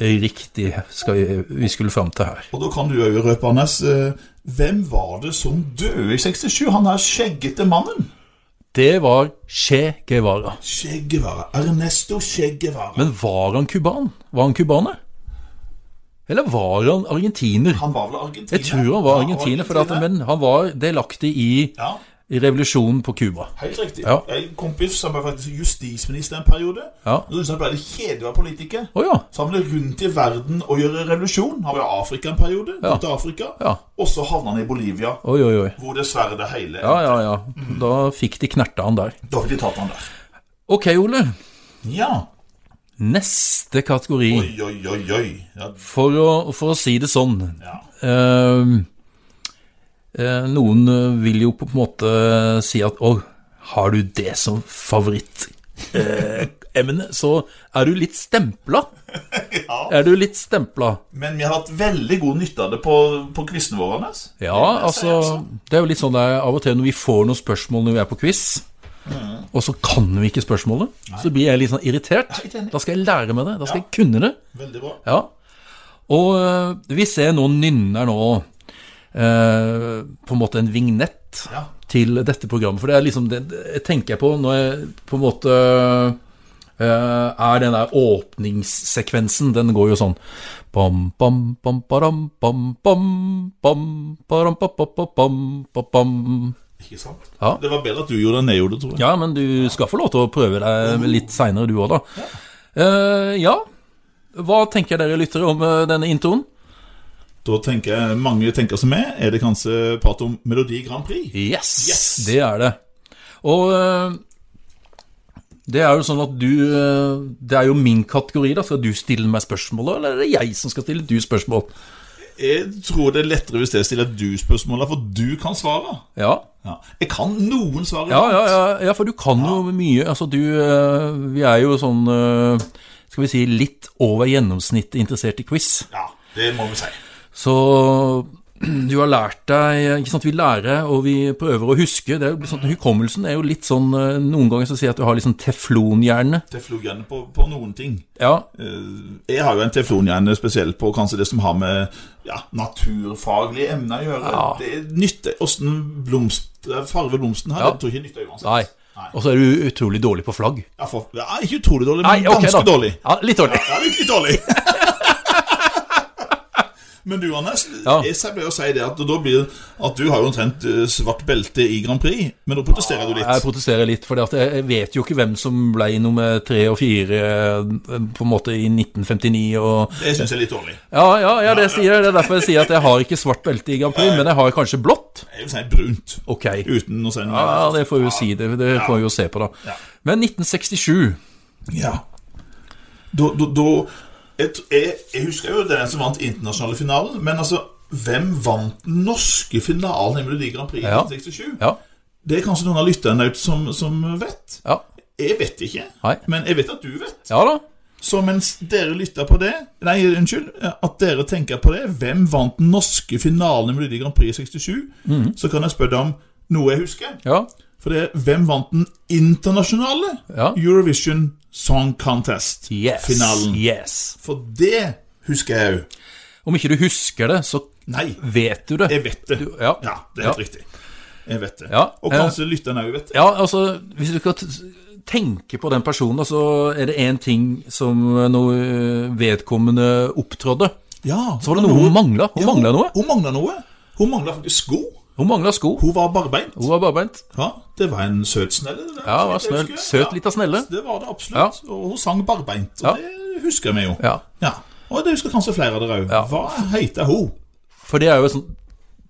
Speaker 1: er riktig skal vi, vi skulle fram til her.
Speaker 2: Og da kan du òg røpe, Anders. eh, Hvem var det som døde i 67? Han der skjeggete mannen.
Speaker 1: Det var Che Guevara.
Speaker 2: Che Guevara. Ernesto Che Guevara.
Speaker 1: Men var han kuban? Var han kubaner? Eller var han argentiner?
Speaker 2: han var vel argentiner?
Speaker 1: Jeg tror han var argentiner, for at, men han var delaktig i,
Speaker 2: ja,
Speaker 1: i revolusjonen på Cuba.
Speaker 2: Helt riktig.
Speaker 1: Ja.
Speaker 2: En kompis som var faktisk justisminister en periode.
Speaker 1: Ja.
Speaker 2: Og så syntes han ble litt kjedelig å være politiker.
Speaker 1: Å ja.
Speaker 2: Så han ble rundt i verden og gjøre revolusjon. Han var i Afrika en periode, ja. til Afrika,
Speaker 1: Ja.
Speaker 2: og så havna han i Bolivia,
Speaker 1: Oi, oi, oi.
Speaker 2: hvor dessverre det hele
Speaker 1: Ja, ja, ja. Da fikk de knerta han der.
Speaker 2: Da fikk de tatt han der.
Speaker 1: Ok, Ole.
Speaker 2: Ja.
Speaker 1: Neste kategori.
Speaker 2: Oi, oi, oi, oi. Ja.
Speaker 1: For å, for å si det sånn
Speaker 2: ja. <laughs>
Speaker 1: Ehm, eh, Noen eh, vil jo på en måte si at Å, har du det som favorittemne, så er du litt stempla.
Speaker 2: Ja.
Speaker 1: Er du litt stempla?
Speaker 2: Men vi har hatt veldig god nytte av det på, på quizene våre. Anders.
Speaker 1: Ja, altså Det er jo litt sånn det er av og til når vi får noen spørsmål når vi er på quiz, og så kan vi ikke spørsmålet, så blir Mm. jeg litt sånn irritert.
Speaker 2: helt enig.
Speaker 1: Da skal jeg lære meg det. Da skal jeg kunne det.
Speaker 2: Veldig bra.
Speaker 1: Ja. Og øh, vi ser nå nynner nå øh, på en måte en vignett
Speaker 2: Ja.
Speaker 1: til dette programmet. For det er liksom det jeg tenker på når jeg på en måte eh, er den der åpningssekvensen. Den går jo sånn bam, bam, bam, baram, bam, bam, bam, baram, ba, ba, ba, bam, ba, bam.
Speaker 2: Ikke sant?
Speaker 1: Ja.
Speaker 2: Det var bedre at du gjorde det enn jeg gjorde, tror jeg.
Speaker 1: Ja, men du skal få lov til å prøve deg litt seinere, du òg, da. Eh, ja. Hva tenker dere lyttere om eh, denne introen?
Speaker 2: Da tenker jeg, mange tenker som meg. Er det kanskje prat om Melodi Grand Prix?
Speaker 1: Yes,
Speaker 2: Yes.
Speaker 1: det er det. Og øh, Det er jo sånn at du eh, Det er jo min kategori, da. Skal du stille meg spørsmål, da, eller er det jeg som skal stille du spørsmål?
Speaker 2: Jeg tror det er lettere hvis jeg stiller du spørsmålet, for du kan svare.
Speaker 1: Ja,
Speaker 2: Ja. Jeg kan noen svare.
Speaker 1: ja, ja, ja, ja for du kan jo mye. Altså, du eh, Vi er jo sånn eh, Skal vi si litt over gjennomsnittet interessert i quiz.
Speaker 2: Ja, det må vi si.
Speaker 1: Så <clears throat> du har lært deg ikke sant, Vi lærer, og vi prøver å huske. Det er jo sånn, hukommelsen er jo litt sånn eh, Noen ganger så sier jeg at du har litt sånn teflonhjerne.
Speaker 2: Teflonhjerne på, på noen ting.
Speaker 1: Ja,
Speaker 2: Eh, Jeg har jo en teflonhjerne spesielt på kanskje det som har med ja, naturfaglige emner å gjøre.
Speaker 1: Ja.
Speaker 2: Det er nytte Åssen blomst farge blomsten har,
Speaker 1: Ja.
Speaker 2: det tror jeg ikke nytter uansett.
Speaker 1: nei. Og så er du utrolig dårlig på flagg.
Speaker 2: Ja, for, ja, ikke utrolig dårlig,
Speaker 1: Nei,
Speaker 2: men
Speaker 1: ok,
Speaker 2: ganske
Speaker 1: da.
Speaker 2: dårlig.
Speaker 1: Ja, litt dårlig.
Speaker 2: Ja, litt, litt dårlig. <laughs> Men du, Anders,
Speaker 1: Ja.
Speaker 2: jeg sa- ble å si det at da blir at du har jo omtrent eh, svart belte i Grand Prix, men da protesterer du
Speaker 1: Jeg
Speaker 2: litt.
Speaker 1: protesterer litt, for jeg vet jo ikke hvem som ble nummer tre og fire eh, på en måte i 1959 og
Speaker 2: Det syns jeg er litt dårlig.
Speaker 1: Ja, ja, ja det sier jeg. Det er derfor jeg sier at jeg har ikke svart belte i Grand Prix, men jeg har kanskje blått.
Speaker 2: Jeg vil si brunt,
Speaker 1: Ok.
Speaker 2: uten å si noe.
Speaker 1: Ja, det får vi jo si. Det, det får vi jo se på, da. Men 1967
Speaker 2: Ja. Da, da, da jeg, t- jeg, jeg husker jo den som vant internasjonale finalen, men altså hvem vant den norske finalen i Melodi Grand Prix i
Speaker 1: Ja.
Speaker 2: 1967?
Speaker 1: Ja.
Speaker 2: Det er kanskje noen av lytterne ut som, som vet.
Speaker 1: ja.
Speaker 2: Jeg vet ikke,
Speaker 1: Nei.
Speaker 2: men jeg vet at du vet.
Speaker 1: Ja da.
Speaker 2: Så mens dere lytter på det Nei, unnskyld. At dere tenker på det Hvem vant den norske finalen i Melodi Grand Prix i 67?
Speaker 1: Mhm.
Speaker 2: Så kan jeg spørre deg om noe jeg husker.
Speaker 1: Ja.
Speaker 2: For det er hvem vant den internasjonale
Speaker 1: Ja.
Speaker 2: Eurovision Song Contest-finalen?
Speaker 1: Yes.
Speaker 2: For det husker jeg òg.
Speaker 1: Om ikke du husker det, så
Speaker 2: Nei,
Speaker 1: vet du det.
Speaker 2: jeg vet det.
Speaker 1: Ja.
Speaker 2: Ja, det er helt riktig. Jeg vet det.
Speaker 1: Ja,
Speaker 2: Og kanskje lytterne òg vet det.
Speaker 1: Ja, altså, hvis du skal t- tenke på den personen, så er det én ting som noe vedkommende opptrådde.
Speaker 2: Ja,
Speaker 1: Så var det noe hun mangla. Hun mangla noe.
Speaker 2: Hun mangla noe. Hun mangla faktisk sko.
Speaker 1: Hun mangla sko.
Speaker 2: Hun var barbeint.
Speaker 1: Hun var barbeint.
Speaker 2: Ja, det var en søt snelle. det der,
Speaker 1: Ja,
Speaker 2: så
Speaker 1: var
Speaker 2: vidt jeg
Speaker 1: snøll.
Speaker 2: husker.
Speaker 1: Søt
Speaker 2: Ja,
Speaker 1: lita snelle.
Speaker 2: Det var det absolutt. Og hun sang barbeint, og
Speaker 1: Ja.
Speaker 2: det husker vi jo.
Speaker 1: Ja.
Speaker 2: Og det husker kanskje flere av dere òg.
Speaker 1: Ja.
Speaker 2: Hva heter hun?
Speaker 1: For det er jo sånn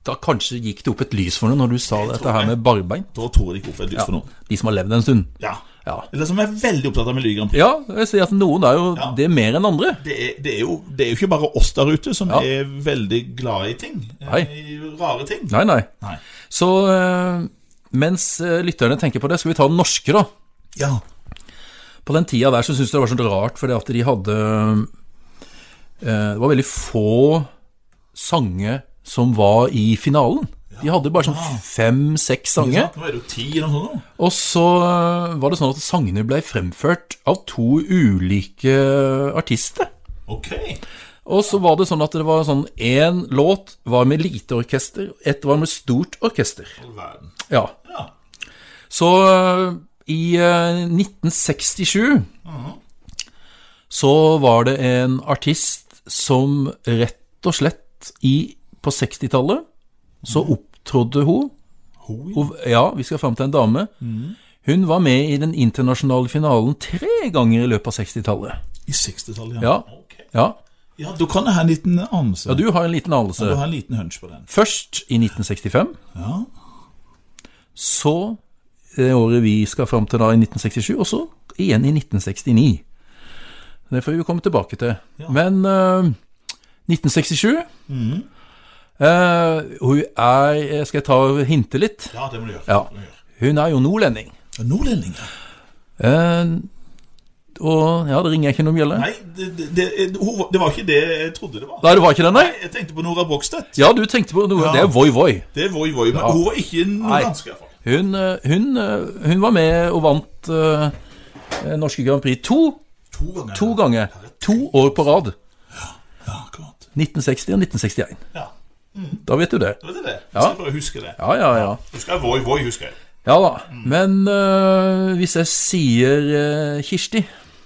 Speaker 1: Da kanskje gikk det opp et lys for noe når du sa dette her med barbeint.
Speaker 2: Da tror jeg det gikk opp et lys for noen.
Speaker 1: De som har levd en stund.
Speaker 2: Ja.
Speaker 1: Ja.
Speaker 2: Eller som er veldig opptatt av Melodi Grand Prix.
Speaker 1: Ja, jeg sier at noen er jo
Speaker 2: Ja.
Speaker 1: det mer enn andre.
Speaker 2: Det er, det, er jo, det er jo ikke bare oss der ute som
Speaker 1: Ja.
Speaker 2: er veldig glad i ting. eh,
Speaker 1: Nei.
Speaker 2: I rare ting.
Speaker 1: Nei, nei.
Speaker 2: Nei.
Speaker 1: Så eh, mens eh, lytterne tenker på det, skal vi ta den norske, da.
Speaker 2: Ja.
Speaker 1: På den tida der så syntes jeg det var så rart, fordi at de hadde eh, Det var veldig få sanger som var i finalen. De hadde bare sånn fem-seks sanger.
Speaker 2: Nå er det jo ti eller noe sånt. nå.
Speaker 1: Og så eh, var det sånn at sangene ble fremført av to ulike artister.
Speaker 2: Ok.
Speaker 1: Og så var det sånn at det var sånn én låt var med lite orkester, ett var med stort orkester.
Speaker 2: All verden.
Speaker 1: Ja.
Speaker 2: Ja.
Speaker 1: Så øh, i øh, 1967
Speaker 2: Uh-huh.
Speaker 1: så var det en artist som rett og slett i, på 60-tallet så
Speaker 2: Mm.
Speaker 1: opptrådte hun,
Speaker 2: Hun, ja.
Speaker 1: og, ja, vi skal fram til en dame,
Speaker 2: Mm.
Speaker 1: hun var med i den internasjonale finalen tre ganger i løpet av 60-tallet.
Speaker 2: I 60-tallet,
Speaker 1: Ja.
Speaker 2: Ok.
Speaker 1: Ja.
Speaker 2: ja. Da kan jeg ha en liten anelse.
Speaker 1: ja, du har en liten
Speaker 2: Du
Speaker 1: anelse.
Speaker 2: har en liten hunch på den.
Speaker 1: Først i 1965,
Speaker 2: Ja.
Speaker 1: så det året vi skal fram til da, i 1967, og så igjen i 1969. Det får vi komme tilbake til. Men eh, 1967
Speaker 2: Mhm.
Speaker 1: eh, Hun er Skal jeg ta og hinte litt?
Speaker 2: Ja, det må du gjøre.
Speaker 1: Ja.
Speaker 2: Det må du gjøre.
Speaker 1: Hun er jo nordlending.
Speaker 2: Nordlendinger?
Speaker 1: Eh, og Ja, det ringer ikke noen bjelle?
Speaker 2: Nei, det, det, det, hun var- det var ikke det jeg trodde det var.
Speaker 1: Nei, det var ikke den, nei?
Speaker 2: Jeg tenkte på Nora Brogstedt.
Speaker 1: Ja, du tenkte på noe.
Speaker 2: Ja.
Speaker 1: Det er Voi Voi.
Speaker 2: Det er Voi Voi, men hun var ikke
Speaker 1: Nei.
Speaker 2: nordlandsk. i hvert fall.
Speaker 1: Hun, eh, hun, eh, hun var med og vant eh, eh, norske Grand Prix to,
Speaker 2: To ganger.
Speaker 1: to ganger. To år på rad.
Speaker 2: Ja, akkurat.
Speaker 1: 1960 og 1961.
Speaker 2: Ja,
Speaker 1: Da vet du det.
Speaker 2: det var det. Ja. Skal jeg prøve å huske det.
Speaker 1: Ja, ja, ja.
Speaker 2: Husker jeg Voi Voi, husker jeg.
Speaker 1: Ja da. Men øh, hvis jeg sier øh, Kirsti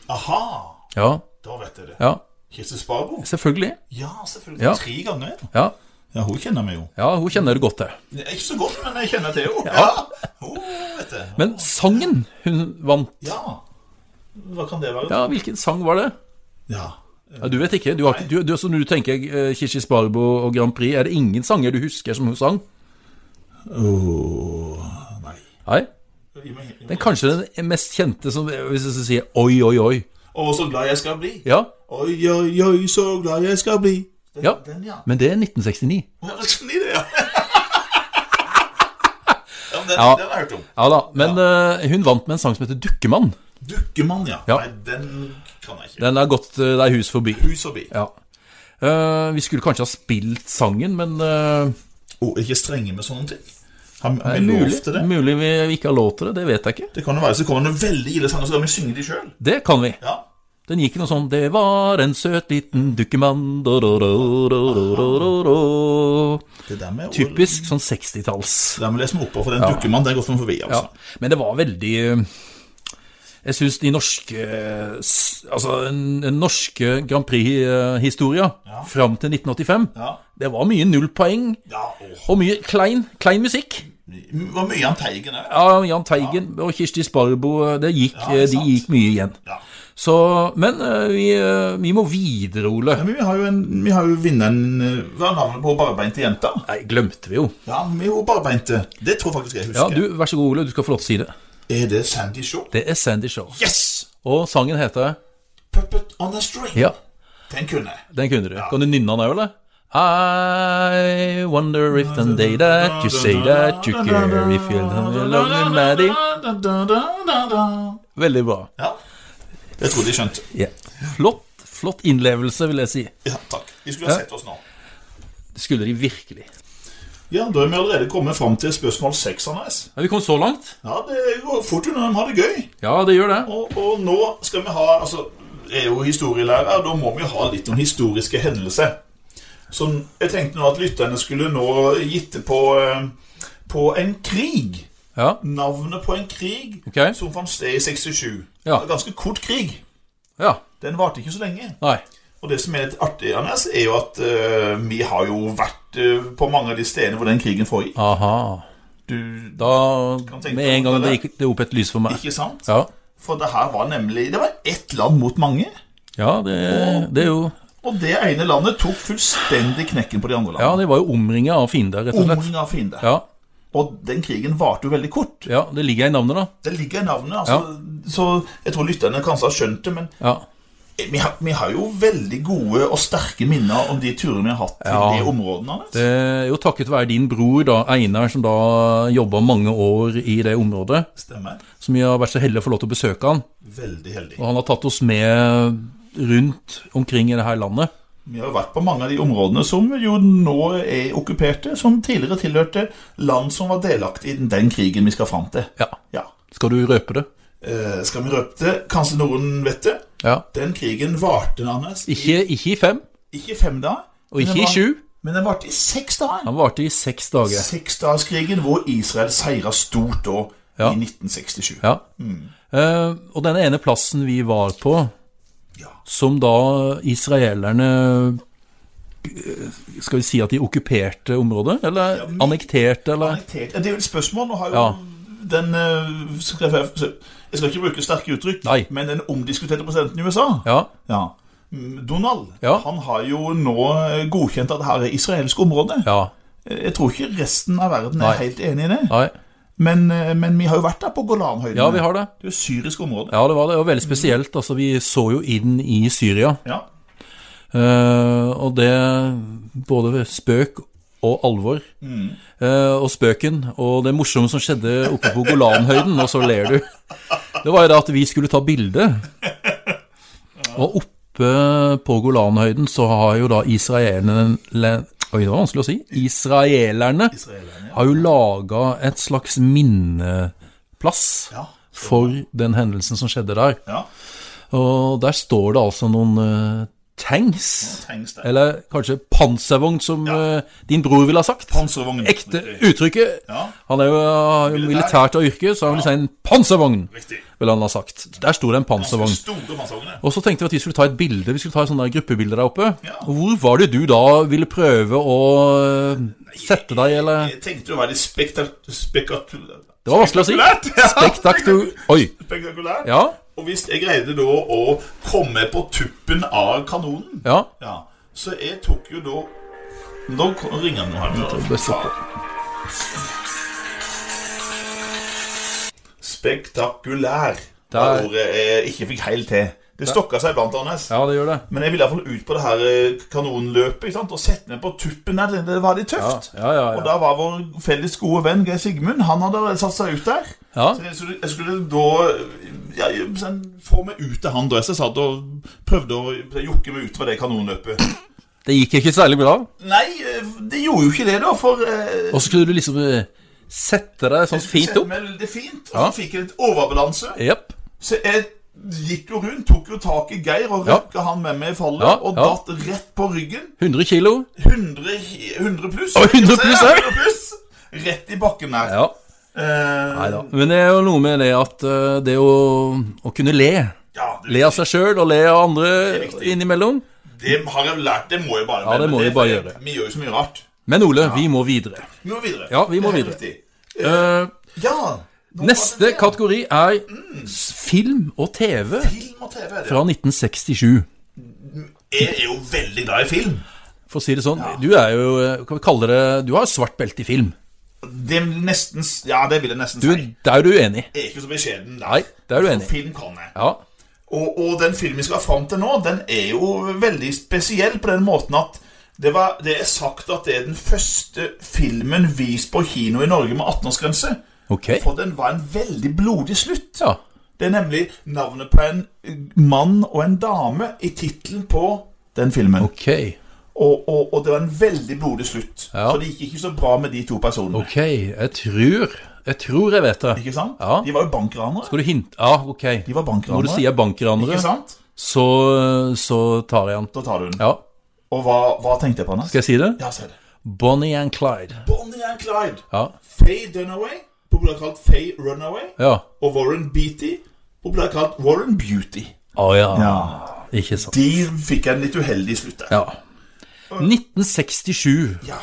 Speaker 2: Aha,
Speaker 1: Ja,
Speaker 2: da vet jeg det.
Speaker 1: ja.
Speaker 2: Kirsti Sparbo.
Speaker 1: Selvfølgelig.
Speaker 2: Ja, selvfølgelig.
Speaker 1: Ja.
Speaker 2: Tre ganger.
Speaker 1: Ja.
Speaker 2: Ja, hun kjenner meg jo.
Speaker 1: ja, hun kjenner det godt til.
Speaker 2: Det er Ikke så godt, men jeg kjenner til henne. Ja. Hun vet det.
Speaker 1: Men sangen hun vant
Speaker 2: Ja. Hva kan det være?
Speaker 1: Ja, hvilken sang var det?
Speaker 2: Ja.
Speaker 1: Ja, du vet ikke. Du har, ikke- du, du, så når du tenker øh, Kirsti Sparbo og Grand Prix, er det ingen sanger du husker som hun sang?
Speaker 2: Åh, nei.
Speaker 1: Nei?
Speaker 2: Eh, Skal gi meg
Speaker 1: Den er kanskje den mest kjente som Hvis jeg sier oi, oi, oi.
Speaker 2: Og så glad jeg skal bli.
Speaker 1: Ja,
Speaker 2: Oi, oi, oi, så glad jeg skal bli. Den,
Speaker 1: Ja.
Speaker 2: Den, ja.
Speaker 1: men det er 1969.
Speaker 2: Ja, det er sånn i
Speaker 1: <laughs>
Speaker 2: det, ja. ja, men den,
Speaker 1: Ja.
Speaker 2: den har jeg hørt om.
Speaker 1: Ja da, men eh, hun vant med en sang som heter Dukkemann.
Speaker 2: Dukkemann, ja.
Speaker 1: Ja.
Speaker 2: Nei, den kan jeg ikke.
Speaker 1: Den har gått eh, deg hus forbi.
Speaker 2: Hus forbi.
Speaker 1: Ja. Eh, vi skulle kanskje ha spilt sangen, men eh,
Speaker 2: Og ikke strenge med sånne ting. Har vi- har
Speaker 1: det
Speaker 2: vi
Speaker 1: er
Speaker 2: lov
Speaker 1: mulig,
Speaker 2: til det?
Speaker 1: mulig vi ikke har lov til det. Det vet jeg ikke.
Speaker 2: Det kan jo være så kommer det noen veldig ille sanger, så kan vi synge de sjøl.
Speaker 1: Det kan vi.
Speaker 2: Ja.
Speaker 1: Den gikk noe sånn Det var en søt liten dukkemann do, do, do, do, do, do, do, do.
Speaker 2: Det der med
Speaker 1: Typisk sånn 60-talls.
Speaker 2: Det der med å lese meg opp på, for den dukkemann, den går som forbi,
Speaker 1: Ja.
Speaker 2: altså.
Speaker 1: Men det var veldig eh, Jeg syns de norske eh, s- Altså, den den norske Grand Prix-historia
Speaker 2: Ja.
Speaker 1: fram til 1985
Speaker 2: Ja.
Speaker 1: Det var mye null poeng
Speaker 2: ja. åh.
Speaker 1: og mye klein, klein musikk.
Speaker 2: Det var mye han Teigen òg.
Speaker 1: Ja, Jahn Teigen og Kirsti Sparbo, eh, det gikk,
Speaker 2: Ja, det er
Speaker 1: de
Speaker 2: sant.
Speaker 1: gikk mye igjen.
Speaker 2: Ja.
Speaker 1: Så, men eh, vi, eh, vi må videre, Ole.
Speaker 2: Men vi har jo, en- vi har jo vinneren eh, Hva er navnet på barbeinte jenta?
Speaker 1: Nei, glemte vi jo.
Speaker 2: Ja, vi er jo barbeinte. Det tror jeg faktisk jeg
Speaker 1: Ja,
Speaker 2: husker.
Speaker 1: du, Vær så god, Ole, du skal få lov til å si det.
Speaker 2: Er det Sandy Shaw?
Speaker 1: Det er Sandy Show.
Speaker 2: Yes!
Speaker 1: Og sangen heter
Speaker 2: Puppet on a string.
Speaker 1: Ja,
Speaker 2: Den kunne jeg.
Speaker 1: den kunne du. Kan du nynne den òg, eller? I wonder if the day that you say that you care if you love me, love me, Maddie. Veldig bra.
Speaker 2: Ja. Jeg tror de skjønte.
Speaker 1: Ja. Flott, flott innlevelse, vil jeg si.
Speaker 2: Ja, takk. De skulle ha sett oss nå.
Speaker 1: Det skulle de virkelig.
Speaker 2: Ja, Da er vi allerede kommet fram til spørsmål seks. Andreas.
Speaker 1: Ja, vi kom så langt.
Speaker 2: Ja, det går fort unna. De har det gøy.
Speaker 1: Ja, det gjør det.
Speaker 2: Og, og nå skal vi ha altså, Jeg er jo historielærer, da må vi ha litt om historiske hendelser. Så jeg tenkte nå at lytterne skulle nå gitte på, eh, på en krig.
Speaker 1: Ja,
Speaker 2: Navnet på en krig
Speaker 1: ok.
Speaker 2: som fant sted i 67.
Speaker 1: Ja.
Speaker 2: En ganske kort krig.
Speaker 1: Ja,
Speaker 2: Den varte ikke så lenge.
Speaker 1: nei.
Speaker 2: Og det som er litt artig, Anders, er jo at eh, vi har jo vært eh, på mange av de stedene hvor den krigen foregikk.
Speaker 1: Aha.
Speaker 2: Du,
Speaker 1: Da,
Speaker 2: Kan tenke
Speaker 1: med en gang
Speaker 2: på
Speaker 1: det
Speaker 2: det.
Speaker 1: gikk det opp et lys for meg.
Speaker 2: ikke sant?
Speaker 1: Ja,
Speaker 2: For det her var nemlig Det var ett land mot mange.
Speaker 1: ja det, det er jo
Speaker 2: Og det ene landet tok fullstendig knekken på de andre
Speaker 1: Ja,
Speaker 2: landene.
Speaker 1: de var jo omringa av fiender, rett og slett.
Speaker 2: Omringet av fiender.
Speaker 1: Ja,
Speaker 2: Og den krigen varte jo veldig kort.
Speaker 1: ja, det ligger i navnet, da.
Speaker 2: Det ligger i navnet. Altså, Så jeg tror lytterne kanskje har skjønt det, men
Speaker 1: Ja,
Speaker 2: Eh, vi har, vi har jo veldig gode og sterke minner om de turene vi har hatt til
Speaker 1: Ja.
Speaker 2: de områdene. Anders.
Speaker 1: det er Jo, takket være din bror, da, Einar, som da jobba mange år i det området,
Speaker 2: Stemmer.
Speaker 1: som vi har vært så heldige å få lov til å besøke han.
Speaker 2: Veldig heldig.
Speaker 1: Og han har tatt oss med rundt omkring i det her landet.
Speaker 2: Vi har jo vært på mange av de områdene som jo nå er okkuperte, som tidligere tilhørte land som var delaktig i den krigen vi skal fram til.
Speaker 1: Ja.
Speaker 2: Ja.
Speaker 1: Skal du røpe det?
Speaker 2: Eh, skal vi røpe det? Kanskje noen vet det?
Speaker 1: Ja.
Speaker 2: Den krigen varte, Anders, i
Speaker 1: Ikke, ikke i fem,
Speaker 2: Ikke i fem dager.
Speaker 1: og ikke i sju.
Speaker 2: Men den varte i seks dager.
Speaker 1: Han varte i seks dager.
Speaker 2: Seksdagerskrigen hvor Israel seira stort da
Speaker 1: Ja.
Speaker 2: i 1967.
Speaker 1: Ja.
Speaker 2: Mm.
Speaker 1: Eh, og den ene plassen vi var på,
Speaker 2: Ja.
Speaker 1: som da israelerne eh, Skal vi si at de okkuperte området? Eller
Speaker 2: Ja, men-
Speaker 1: annekterte, eller?
Speaker 2: Annektert- Ja, det er jo et spørsmål. Nå har jo
Speaker 1: Ja.
Speaker 2: den eh, skal jeg, jeg skal ikke bruke sterke uttrykk,
Speaker 1: Nei.
Speaker 2: men den omdiskuterte presidenten i USA,
Speaker 1: Ja.
Speaker 2: ja, mm, Donald,
Speaker 1: Ja.
Speaker 2: han har jo nå eh, godkjent at dette er israelsk område.
Speaker 1: Ja.
Speaker 2: Eh, Jeg tror ikke resten av verden
Speaker 1: Nei.
Speaker 2: er helt enig i det.
Speaker 1: Nei.
Speaker 2: Men, eh, men vi har jo vært der på Golanhøyden.
Speaker 1: Ja, vi har det.
Speaker 2: Det er jo syrisk område.
Speaker 1: Ja, det var det. Og veldig spesielt. Altså, vi så jo inn i Syria.
Speaker 2: Ja.
Speaker 1: Eh, og det Både ved spøk og alvor. Eh, og spøken og det morsomme som skjedde oppe på Golanhøyden, og så ler du. Det var jo det at vi skulle ta bilde. Og oppe på Golanhøyden så har jo da israelerne Oi, det var vanskelig å si. Israelerne
Speaker 2: Israelerne.
Speaker 1: har jo laga et slags minneplass
Speaker 2: Ja.
Speaker 1: for den hendelsen som skjedde der.
Speaker 2: ja.
Speaker 1: Og der står det altså noen eh, tanks.
Speaker 2: Trengs det.
Speaker 1: Eller kanskje panservogn, som
Speaker 2: Ja.
Speaker 1: eh, din bror ville ha sagt.
Speaker 2: Panservogn.
Speaker 1: Ekte uttrykket.
Speaker 2: Ja,
Speaker 1: Han er jo har jo
Speaker 2: Militær.
Speaker 1: militært av yrke, så han ville si en panservogn.
Speaker 2: riktig.
Speaker 1: Ville han ha sagt. Der sto det en panservogn.
Speaker 2: Ganske Store panservogner.
Speaker 1: Og så tenkte vi at vi skulle ta et bilde. Vi skulle ta et sånt der gruppebilde der oppe.
Speaker 2: Ja.
Speaker 1: Og Hvor var det du da ville prøve å eh, sette deg, eller
Speaker 2: Jeg tenkte jo å være litt spektak- spektakulær.
Speaker 1: Det var vanskelig å si.
Speaker 2: Spektakulært, <laughs> ja.
Speaker 1: Spektaktu... Oi.
Speaker 2: Spektakulær.
Speaker 1: Ja.
Speaker 2: Og hvis jeg greide da å komme på tuppen av kanonen,
Speaker 1: Ja.
Speaker 2: ja, så jeg tok jo da Nå kom- ringer den nå her.
Speaker 1: Bare stopp.
Speaker 2: Spektakulær. Det
Speaker 1: Der-
Speaker 2: ordet jeg ikke fikk helt til. Det stokka seg blant annet.
Speaker 1: Ja, det gjør det.
Speaker 2: Men jeg ville iallfall ut på det her eh, kanonløpet ikke sant? og sette meg på tuppen der. Det var litt
Speaker 1: Ja,
Speaker 2: tøft.
Speaker 1: ja, ja.
Speaker 2: Og
Speaker 1: ja.
Speaker 2: da var vår felles gode venn Geir Sigmund Han hadde satt seg ut der.
Speaker 1: ja.
Speaker 2: Så jeg skulle, jeg skulle da ja, sen, få meg ut av han da. Så jeg satt og prøvde å jokke meg ut fra det kanonløpet.
Speaker 1: Det gikk ikke særlig bra.
Speaker 2: Nei, eh, det gjorde jo ikke det, da. For eh,
Speaker 1: Og så skulle du liksom eh, sette deg sånn
Speaker 2: jeg
Speaker 1: fint
Speaker 2: sette
Speaker 1: opp.
Speaker 2: meg veldig fint. Og så
Speaker 1: Ja.
Speaker 2: fikk jeg litt overbalanse.
Speaker 1: Jepp.
Speaker 2: Så jeg gikk jo rundt, tok jo tak i Geir og
Speaker 1: Ja.
Speaker 2: røkka han med meg i fallet.
Speaker 1: Ja,
Speaker 2: Og
Speaker 1: ja.
Speaker 2: datt rett på ryggen.
Speaker 1: 100 kilo.
Speaker 2: 100, hi- 100 pluss.
Speaker 1: Å, 100 pluss, ja.
Speaker 2: 100 pluss. Rett i bakken der.
Speaker 1: Ja.
Speaker 2: Eh,
Speaker 1: Nei da. Men det er jo noe med det at eh, det å, å kunne le
Speaker 2: ja, det-
Speaker 1: Le av seg sjøl og le av andre
Speaker 2: Det er viktig.
Speaker 1: innimellom.
Speaker 2: Det har jeg lært. Det må jeg bare
Speaker 1: Ja, det
Speaker 2: men
Speaker 1: må vi
Speaker 2: for
Speaker 1: bare gjøre.
Speaker 2: Vi gjør jo så mye rart.
Speaker 1: Men Ole, vi må videre.
Speaker 2: Vi må videre.
Speaker 1: Ja, vi må
Speaker 2: Det er helt
Speaker 1: videre.
Speaker 2: riktig.
Speaker 1: Eh,
Speaker 2: Ja. nå var
Speaker 1: neste
Speaker 2: det det.
Speaker 1: kategori er s- film og TV
Speaker 2: Film og TV. er det.
Speaker 1: fra 1967.
Speaker 2: Jeg er jo veldig glad i film.
Speaker 1: For å si det sånn, du er jo eh, Kan vi kalle det Du har svart belte i film.
Speaker 2: Det er nesten s- Ja, det vil jeg nesten
Speaker 1: Du,
Speaker 2: si.
Speaker 1: der er du uenig.
Speaker 2: Jeg er ikke så beskjeden der.
Speaker 1: Nei, der er du enig.
Speaker 2: Film kan jeg.
Speaker 1: Ja.
Speaker 2: Og, og den filmen vi skal fram til nå, den er jo veldig spesiell på den måten at det, var, det er sagt at det er den første filmen vist på kino i Norge med 18-årsgrense.
Speaker 1: Ok.
Speaker 2: For den var en veldig blodig slutt.
Speaker 1: Ja.
Speaker 2: Det er nemlig navnet på en mann og en dame i tittelen på den filmen.
Speaker 1: Ok.
Speaker 2: Og, og, og det var en veldig blodig slutt.
Speaker 1: Ja.
Speaker 2: Så det gikk ikke så bra med de to personene.
Speaker 1: Ok. Jeg tror Jeg tror jeg vet det.
Speaker 2: Ikke sant?
Speaker 1: Ja.
Speaker 2: De var jo bankranere.
Speaker 1: Skal du hinte Ja, ok.
Speaker 2: De
Speaker 1: Når
Speaker 2: var
Speaker 1: du
Speaker 2: bankranere.
Speaker 1: sier
Speaker 2: Ikke
Speaker 1: bankranere,
Speaker 2: sant?
Speaker 1: så, så tar jeg den.
Speaker 2: Da tar du den.
Speaker 1: Ja.
Speaker 2: Og hva, hva tenkte jeg på, Anders?
Speaker 1: Skal jeg si det?
Speaker 2: Ja, se det.
Speaker 1: Bonnie and Clyde.
Speaker 2: Bonnie and Clyde.
Speaker 1: Ja.
Speaker 2: Faye Dunaway, populært kalt Faye Runaway,
Speaker 1: Ja.
Speaker 2: og Warren Beatty, populært kalt Warren Beauty.
Speaker 1: Å ja. Ikke sant.
Speaker 2: De fikk en litt uheldig slutt der.
Speaker 1: Ja. 1967.
Speaker 2: Ja.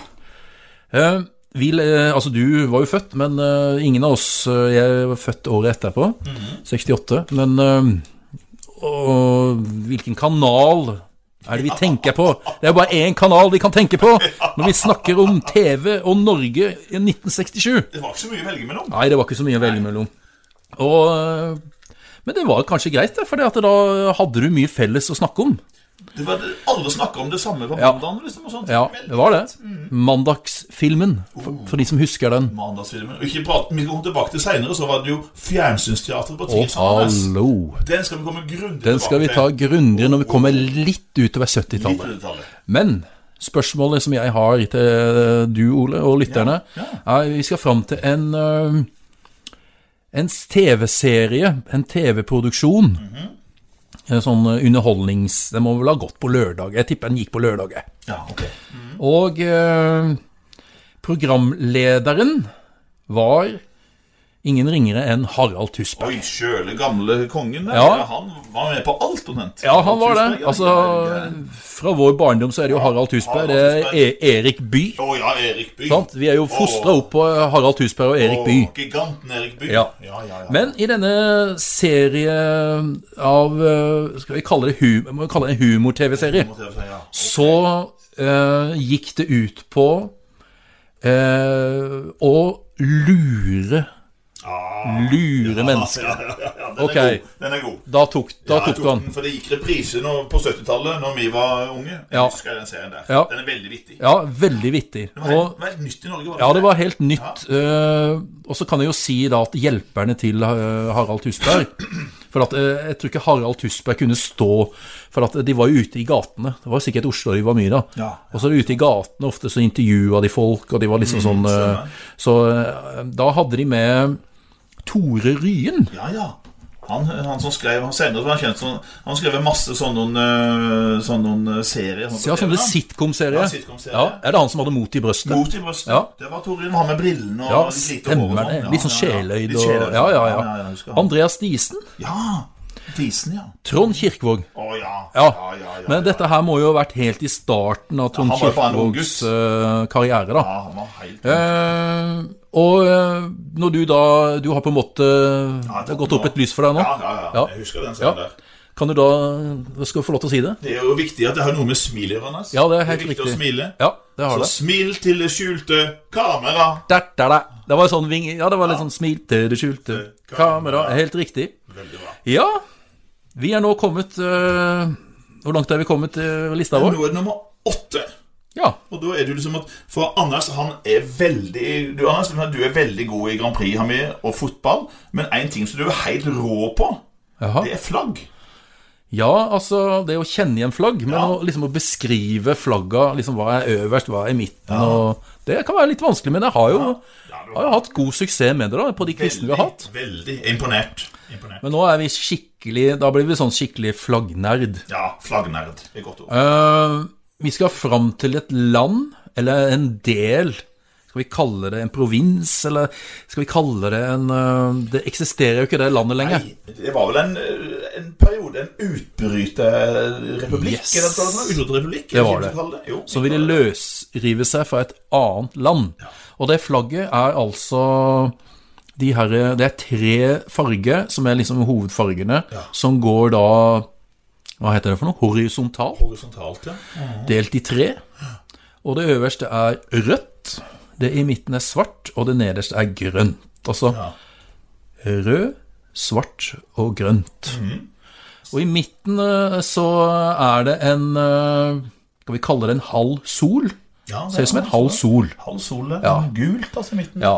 Speaker 1: Eh, vi, le- altså Du var jo født, men eh, ingen av oss eh, Jeg var født året etterpå, 68. Men eh, og, hvilken kanal er det vi tenker på? Det er bare én kanal vi kan tenke på når vi snakker om TV og Norge i 1967.
Speaker 2: Det var ikke så mye å velge mellom.
Speaker 1: Nei, det var ikke så mye å velge mellom. Og, eh, men det var kanskje greit, for da hadde du mye felles å snakke om.
Speaker 2: Det var, alle snakka om det samme på
Speaker 1: Ja.
Speaker 2: mandagen. Liksom, og sånt.
Speaker 1: Ja,
Speaker 2: Veldig
Speaker 1: det var det. Mandagsfilmen, for, for de som husker den.
Speaker 2: Mandagsfilmen. Og ikke prat, vi kommer tilbake til seinere, så var det jo Fjernsynsteatret på
Speaker 1: Å,
Speaker 2: Tirsdag.
Speaker 1: hallo!
Speaker 2: Den skal vi komme grundig
Speaker 1: Den skal vi
Speaker 2: tilbake
Speaker 1: ta
Speaker 2: til.
Speaker 1: grundigere når vi kommer litt utover
Speaker 2: Litt
Speaker 1: 70-tallet.
Speaker 2: i detalj.
Speaker 1: Men spørsmålet som jeg har til du, Ole, og lytterne,
Speaker 2: Ja,
Speaker 1: er vi skal fram til en ø, en TV-serie, en TV-produksjon.
Speaker 2: Mhm.
Speaker 1: En sånn ø, underholdnings... Den må vel ha gått på lørdag. Jeg tipper den gikk på lørdaget.
Speaker 2: Ja, ok. Mhm.
Speaker 1: Og eh, programlederen var ingen ringere enn Harald Tusberg.
Speaker 2: Oi, sjøle gamle kongen der.
Speaker 1: Ja.
Speaker 2: Han var med på alt omtrent.
Speaker 1: Ja, han var det.
Speaker 2: Tusen takk,
Speaker 1: Altså,
Speaker 2: ja, det er gøy.
Speaker 1: fra vår barndom så er det jo Harald Tusberg. Det
Speaker 2: Harald
Speaker 1: er E- Erik By.
Speaker 2: Å ja, Erik Bye.
Speaker 1: Sant? Vi er jo fostra
Speaker 2: Åh.
Speaker 1: opp på eh, Harald Tusberg og Erik By.
Speaker 2: Åh, giganten Erik Bye.
Speaker 1: Ja.
Speaker 2: Ja, ja, ja.
Speaker 1: Men i denne serie av eh, Skal vi kalle det, hu må vi kalle det en humor-TV-serie?
Speaker 2: Måtte jeg si, ja.
Speaker 1: Så eh, gikk det ut på eh, å lure
Speaker 2: Ah,
Speaker 1: Lure
Speaker 2: ja,
Speaker 1: mennesker.
Speaker 2: ja, ja, ja. Den,
Speaker 1: Ok.
Speaker 2: er god. den er god.
Speaker 1: Da tok, da
Speaker 2: Ja, jeg
Speaker 1: tok du han.
Speaker 2: den, For det gikk reprise nå- på 70-tallet, når vi var unge. Jeg
Speaker 1: Ja.
Speaker 2: husker den serien der.
Speaker 1: Ja.
Speaker 2: Den er veldig vittig.
Speaker 1: Ja, veldig vittig.
Speaker 2: Det var
Speaker 1: Og,
Speaker 2: helt, det var helt nytt i Norge, var det
Speaker 1: ja,
Speaker 2: ikke
Speaker 1: det var helt nytt. eh, og så kan jeg jo si da at hjelperne til eh, Harald Tusberg For at, eh, jeg tror ikke Harald Tusberg kunne stå For at de var jo ute i gatene. Det var sikkert Oslo de var mye, da.
Speaker 2: Ja.
Speaker 1: Og så ute i gatene, ofte så intervjua de folk, og de var
Speaker 2: Mm,
Speaker 1: liksom sånn eh, Så eh, da hadde de med Tore Ryen.
Speaker 2: Ja, ja. Han, han som skrev han senere var han kjent som Han skrev masse sånn sånne, øh, sånne øh, serier. sånn på
Speaker 1: Ja,
Speaker 2: TV,
Speaker 1: sånne
Speaker 2: da.
Speaker 1: sitcom-serie.
Speaker 2: Ja, sitcom-serie.
Speaker 1: Ja, er det han som hadde mot i brøstet?
Speaker 2: Mot i brøstet.
Speaker 1: Ja.
Speaker 2: Det var Torin. Han med brillene og
Speaker 1: Ja,
Speaker 2: lite hår og
Speaker 1: stemmer det.
Speaker 2: sånn. Ja,
Speaker 1: Litt sånn
Speaker 2: ja, ja.
Speaker 1: sjeløyd
Speaker 2: Litt
Speaker 1: og
Speaker 2: sjeløyd,
Speaker 1: Ja, ja,
Speaker 2: ja, ja, jeg husker
Speaker 1: ja.
Speaker 2: han.
Speaker 1: Andreas Disen.
Speaker 2: Ja! Disen, ja.
Speaker 1: Trond Kirkvåg.
Speaker 2: Å ja.
Speaker 1: Ja.
Speaker 2: ja, ja, ja
Speaker 1: Men dette her må jo ha vært helt i starten av Trond
Speaker 2: Ja, han var jo bare en ung
Speaker 1: Kirkvågs
Speaker 2: gutt.
Speaker 1: eh, karriere, da.
Speaker 2: ja, han var helt
Speaker 1: Eh, og eh, når du da Du har på en måte Det har gått opp et lys for deg nå.
Speaker 2: ja, ja, ja,
Speaker 1: Ja.
Speaker 2: Jeg husker den
Speaker 1: Ja.
Speaker 2: serien der.
Speaker 1: Kan du da Jeg skal få lov til å si det?
Speaker 2: Det er jo viktig at det har noe med smil å gjøre. Anders.
Speaker 1: Ja, det er helt
Speaker 2: viktig
Speaker 1: riktig.
Speaker 2: å smile.
Speaker 1: Ja, det har
Speaker 2: Så
Speaker 1: det.
Speaker 2: smil til det skjulte kamera.
Speaker 1: Der, der, der. Det var sånn ving... Ja, det var litt sånn smil til det skjulte kamera. Helt riktig.
Speaker 2: Veldig bra.
Speaker 1: Ja. Vi er nå kommet øh, Hvor langt er vi kommet øh, lista vår?
Speaker 2: Nå er det nummer åtte.
Speaker 1: Ja.
Speaker 2: Og da er det jo liksom at For Anders han er veldig Du Anders, du er veldig god i Grand Prix han er, og fotball, men én ting som du er helt rå på,
Speaker 1: Jaha.
Speaker 2: det er flagg.
Speaker 1: Ja, altså, det å kjenne igjen flagg, men
Speaker 2: Ja.
Speaker 1: å, liksom å beskrive flagga, liksom hva er øverst, hva er i midten, og Det kan være litt vanskelig, men jeg har jo,
Speaker 2: Ja, du har-
Speaker 1: har jo hatt god suksess med det, da, på de quizene vi har hatt.
Speaker 2: veldig imponert. imponert.
Speaker 1: Men nå er vi skikkelig Da blir vi sånn skikkelig flaggnerd.
Speaker 2: Ja, flaggnerd. Det er et godt ord.
Speaker 1: Eh, vi skal fram til et land, eller en del. Skal vi kalle det en provins, eller skal vi kalle det en eh, Det eksisterer jo ikke det landet lenger.
Speaker 2: Nei, Det var vel en, eh, en periode, en utbryterrepublikk?
Speaker 1: Yes.
Speaker 2: Eller noe sånt, utbryterrepublikk?
Speaker 1: Det var
Speaker 2: ikke
Speaker 1: det.
Speaker 2: hva du kaller Jo,
Speaker 1: som ville løsrive seg fra et annet land. Og det flagget er altså de her, Det er tre farger som er liksom hovedfargene, som går da Hva heter det for noe? Horisontalt.
Speaker 2: Horisontalt, ja.
Speaker 1: Delt i tre. Og det øverste er rødt. Det i midten er svart, og det nederste er grønt. Altså rød, svart og grønt. Og i midten eh, så er det en eh, Skal vi kalle det en halv sol?
Speaker 2: ja det
Speaker 1: Ser ut som
Speaker 2: er
Speaker 1: en halv sol.
Speaker 2: Halv sol, ja.
Speaker 1: Ja.
Speaker 2: Gult, altså, i midten.
Speaker 1: Ja.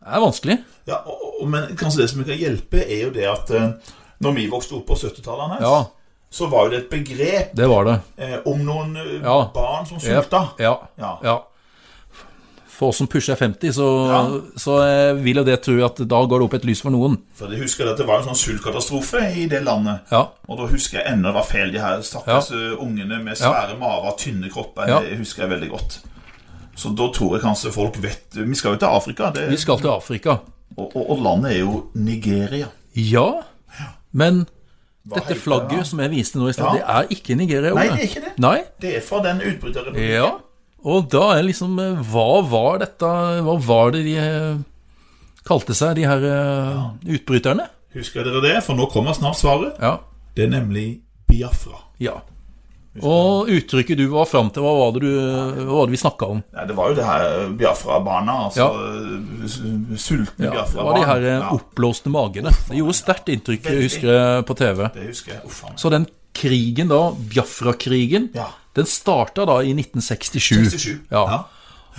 Speaker 1: Det er vanskelig.
Speaker 2: Ja, og, og, men kanskje det som kan hjelpe, er jo det at eh, når vi vokste opp på 70-tallet, Anders,
Speaker 1: Ja,
Speaker 2: så var jo det et begrep
Speaker 1: det var det.
Speaker 2: eh, om noen eh,
Speaker 1: Ja.
Speaker 2: barn som
Speaker 1: Ja,
Speaker 2: sulta.
Speaker 1: ja,
Speaker 2: Ja.
Speaker 1: ja. For oss som pusher 50, så,
Speaker 2: Ja.
Speaker 1: så eh, vil jo det tro at da går det opp et lys for noen.
Speaker 2: For jeg husker at det var en sånn sultkatastrofe i det landet.
Speaker 1: Ja,
Speaker 2: Og da husker jeg ennå hva feil de her stakkars eh, ungene med svære maver, tynne kropper.
Speaker 1: Ja.
Speaker 2: Det husker jeg veldig godt. Så da tror jeg kanskje folk vet Vi skal jo til Afrika, det,
Speaker 1: Vi skal til Afrika.
Speaker 2: og, og, og landet er jo Nigeria.
Speaker 1: Ja, men dette
Speaker 2: heter det, da?
Speaker 1: flagget som jeg viste nå i stad,
Speaker 2: Ja.
Speaker 1: det er ikke Nigeria.
Speaker 2: Nei,
Speaker 1: Ole.
Speaker 2: det er ikke det.
Speaker 1: Nei,
Speaker 2: Det er fra den utbryterrepublikken.
Speaker 1: ja. Og da er liksom eh, Hva var dette Hva var det de eh, kalte seg, de her eh, utbryterne?
Speaker 2: Husker dere det? For nå kommer snart svaret.
Speaker 1: Ja.
Speaker 2: Det er nemlig Biafra.
Speaker 1: ja. Og uttrykket du var fram til, hva var det, du, hva var det vi snakka om?
Speaker 2: Nei, det var jo det her Biafra-barna, altså
Speaker 1: Ja.
Speaker 2: eh, sultne
Speaker 1: Ja, det var
Speaker 2: Biafra-barn.
Speaker 1: de her eh,
Speaker 2: Ja,
Speaker 1: oppblåste magene. Det gjorde sterkt inntrykk, jeg husker jeg, på TV.
Speaker 2: det husker jeg. Uff a meg.
Speaker 1: Så den krigen da, Biafra-krigen,
Speaker 2: Ja.
Speaker 1: den starta da i 1967.
Speaker 2: 67.
Speaker 1: Ja.
Speaker 2: Ja.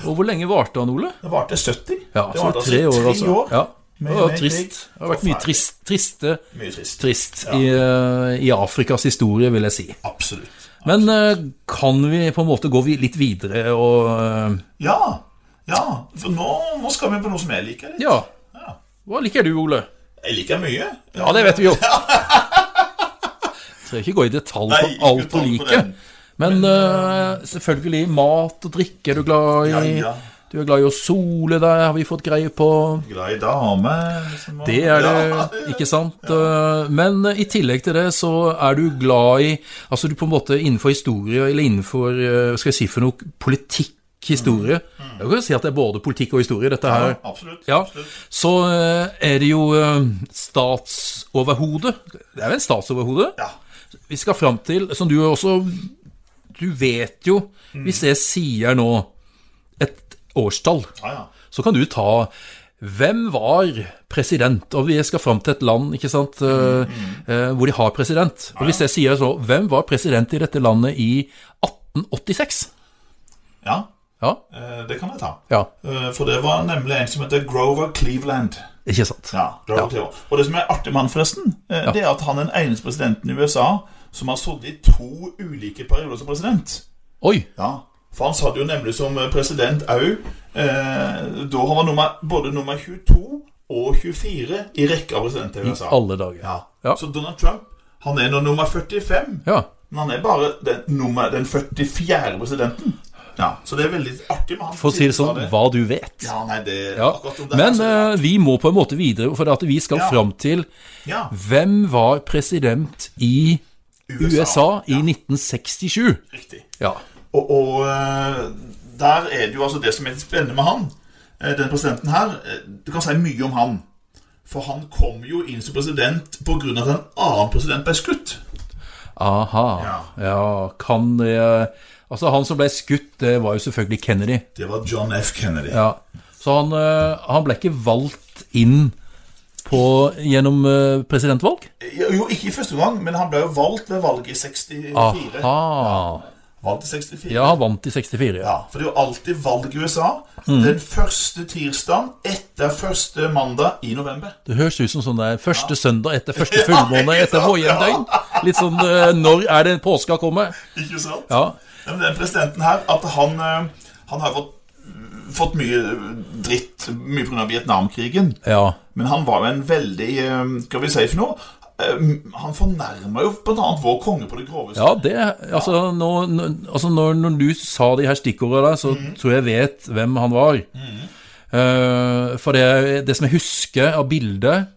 Speaker 1: Og hvor lenge varte han, Ole?
Speaker 2: Det varte 70.
Speaker 1: Ja,
Speaker 2: det
Speaker 1: så
Speaker 2: varte
Speaker 1: tre år, altså.
Speaker 2: år.
Speaker 1: Ja.
Speaker 2: Med-
Speaker 1: Det var
Speaker 2: med
Speaker 1: trist.
Speaker 2: krig.
Speaker 1: Det har vært mye trist, triste,
Speaker 2: Mye trist.
Speaker 1: trist i, eh, i Afrikas historie, vil jeg si.
Speaker 2: Absolutt.
Speaker 1: Men eh, kan vi på en måte gå vi- litt videre og eh,
Speaker 2: Ja, ja. For nå, nå skal vi på noe som jeg liker litt.
Speaker 1: Ja.
Speaker 2: Ja.
Speaker 1: Hva liker du, Ole?
Speaker 2: Jeg liker mye.
Speaker 1: Ja, det
Speaker 2: <laughs>
Speaker 1: vet vi jo. Trenger ikke gå i detalj
Speaker 2: Nei,
Speaker 1: på
Speaker 2: ikke
Speaker 1: alt du
Speaker 2: detalj på
Speaker 1: liker.
Speaker 2: den.
Speaker 1: Men eh, selvfølgelig, mat og drikke er du glad i.
Speaker 2: Ja, ja.
Speaker 1: Du er glad i å sole deg, har vi fått greie på.
Speaker 2: Glad i damer. Liksom, og-
Speaker 1: Det er
Speaker 2: Ja,
Speaker 1: det, ikke sant? Eh, Men i tillegg til det så er du glad i Altså du på en måte innenfor historie, eller innenfor eh, hva skal jeg si for noe, politikk, historie.
Speaker 2: Mm.
Speaker 1: Jeg kan jo si at det er både politikk og historie, dette her.
Speaker 2: Absolutt.
Speaker 1: Ja,
Speaker 2: absolutt.
Speaker 1: så eh, er det jo eh, statsoverhodet. Det er jo en statsoverhode.
Speaker 2: Ja.
Speaker 1: Vi skal fram til, som du også Du vet jo,
Speaker 2: Mm.
Speaker 1: hvis jeg sier nå et årstall,
Speaker 2: Ja, ja.
Speaker 1: så kan du ta hvem var president? Og vi skal fram til et land ikke sant, eh,
Speaker 2: Mm,
Speaker 1: eh, hvor de har president. Og hvis jeg sier så, hvem var president i dette landet i 1886?
Speaker 2: ja.
Speaker 1: Ja,
Speaker 2: eh, Det kan jeg ta.
Speaker 1: ja,
Speaker 2: Eh, For det var nemlig en som heter Grover Cleveland.
Speaker 1: ikke sant?
Speaker 2: Ja, Grover Cleveland. Og det som er artig med han forresten, eh, det er at han er den eneste presidenten i USA som har sittet i to ulike perioder som president.
Speaker 1: Oi,
Speaker 2: Ja, For han satt jo nemlig som president òg eh, da han var nummer, både nummer 22 og 24 i rekka av presidenter i USA.
Speaker 1: alle dager.
Speaker 2: Ja.
Speaker 1: Ja.
Speaker 2: Så Donald Trump han er nå nummer 45,
Speaker 1: Ja,
Speaker 2: men han er bare den, nummer, den 44. presidenten. Ja, Så det er veldig artig med han.
Speaker 1: For å si det sånn, hva du vet.
Speaker 2: Ja, nei, det
Speaker 1: Ja.
Speaker 2: akkurat om det altså-
Speaker 1: Men
Speaker 2: her, så-
Speaker 1: eh, vi må på en måte videre, for at vi skal
Speaker 2: Ja.
Speaker 1: fram til
Speaker 2: ja,
Speaker 1: hvem var president i
Speaker 2: USA.
Speaker 1: USA i 1967?
Speaker 2: Riktig.
Speaker 1: Ja.
Speaker 2: Og, og eh, der er det jo altså det som er litt spennende med han, eh, den presidenten her eh, Du kan si mye om han. For han kom jo inn som president pga. at en annen president ble skutt.
Speaker 1: Aha.
Speaker 2: Ja.
Speaker 1: Ja, kan eh, det Altså, han som ble skutt, det var jo selvfølgelig Kennedy.
Speaker 2: Det var John F. Kennedy.
Speaker 1: Ja. Så han, eh, han ble ikke valgt inn på, gjennom eh, presidentvalg.
Speaker 2: Jo, ikke i første gang, men han ble jo valgt ved
Speaker 1: Ah,
Speaker 2: valget i 64.
Speaker 1: Aha.
Speaker 2: Valgt i 64.
Speaker 1: Ja, han vant i 64. Ja.
Speaker 2: Ja, for det er jo alltid valg i USA.
Speaker 1: Mm.
Speaker 2: Den første tirsdagen etter første mandag i november.
Speaker 1: Det høres ut som sånn der første søndag etter første fullmåne etter vårjevndøgn. Litt sånn eh, Når er det påska kommer?
Speaker 2: Ikke sant?
Speaker 1: Ja.
Speaker 2: Ja, Men den presidenten her, at han, eh, han har fått, fått mye dritt mye pga. Vietnamkrigen.
Speaker 1: ja.
Speaker 2: Men han var jo en veldig eh, Skal vi si for noe? Eh, Han fornærma jo bl.a. vår konge på det groveste.
Speaker 1: Ja, det Altså, nå, nå- altså når, når du sa de her stikkordene, der, så tror jeg vet hvem han var. Eh, for det, det som jeg husker av bildet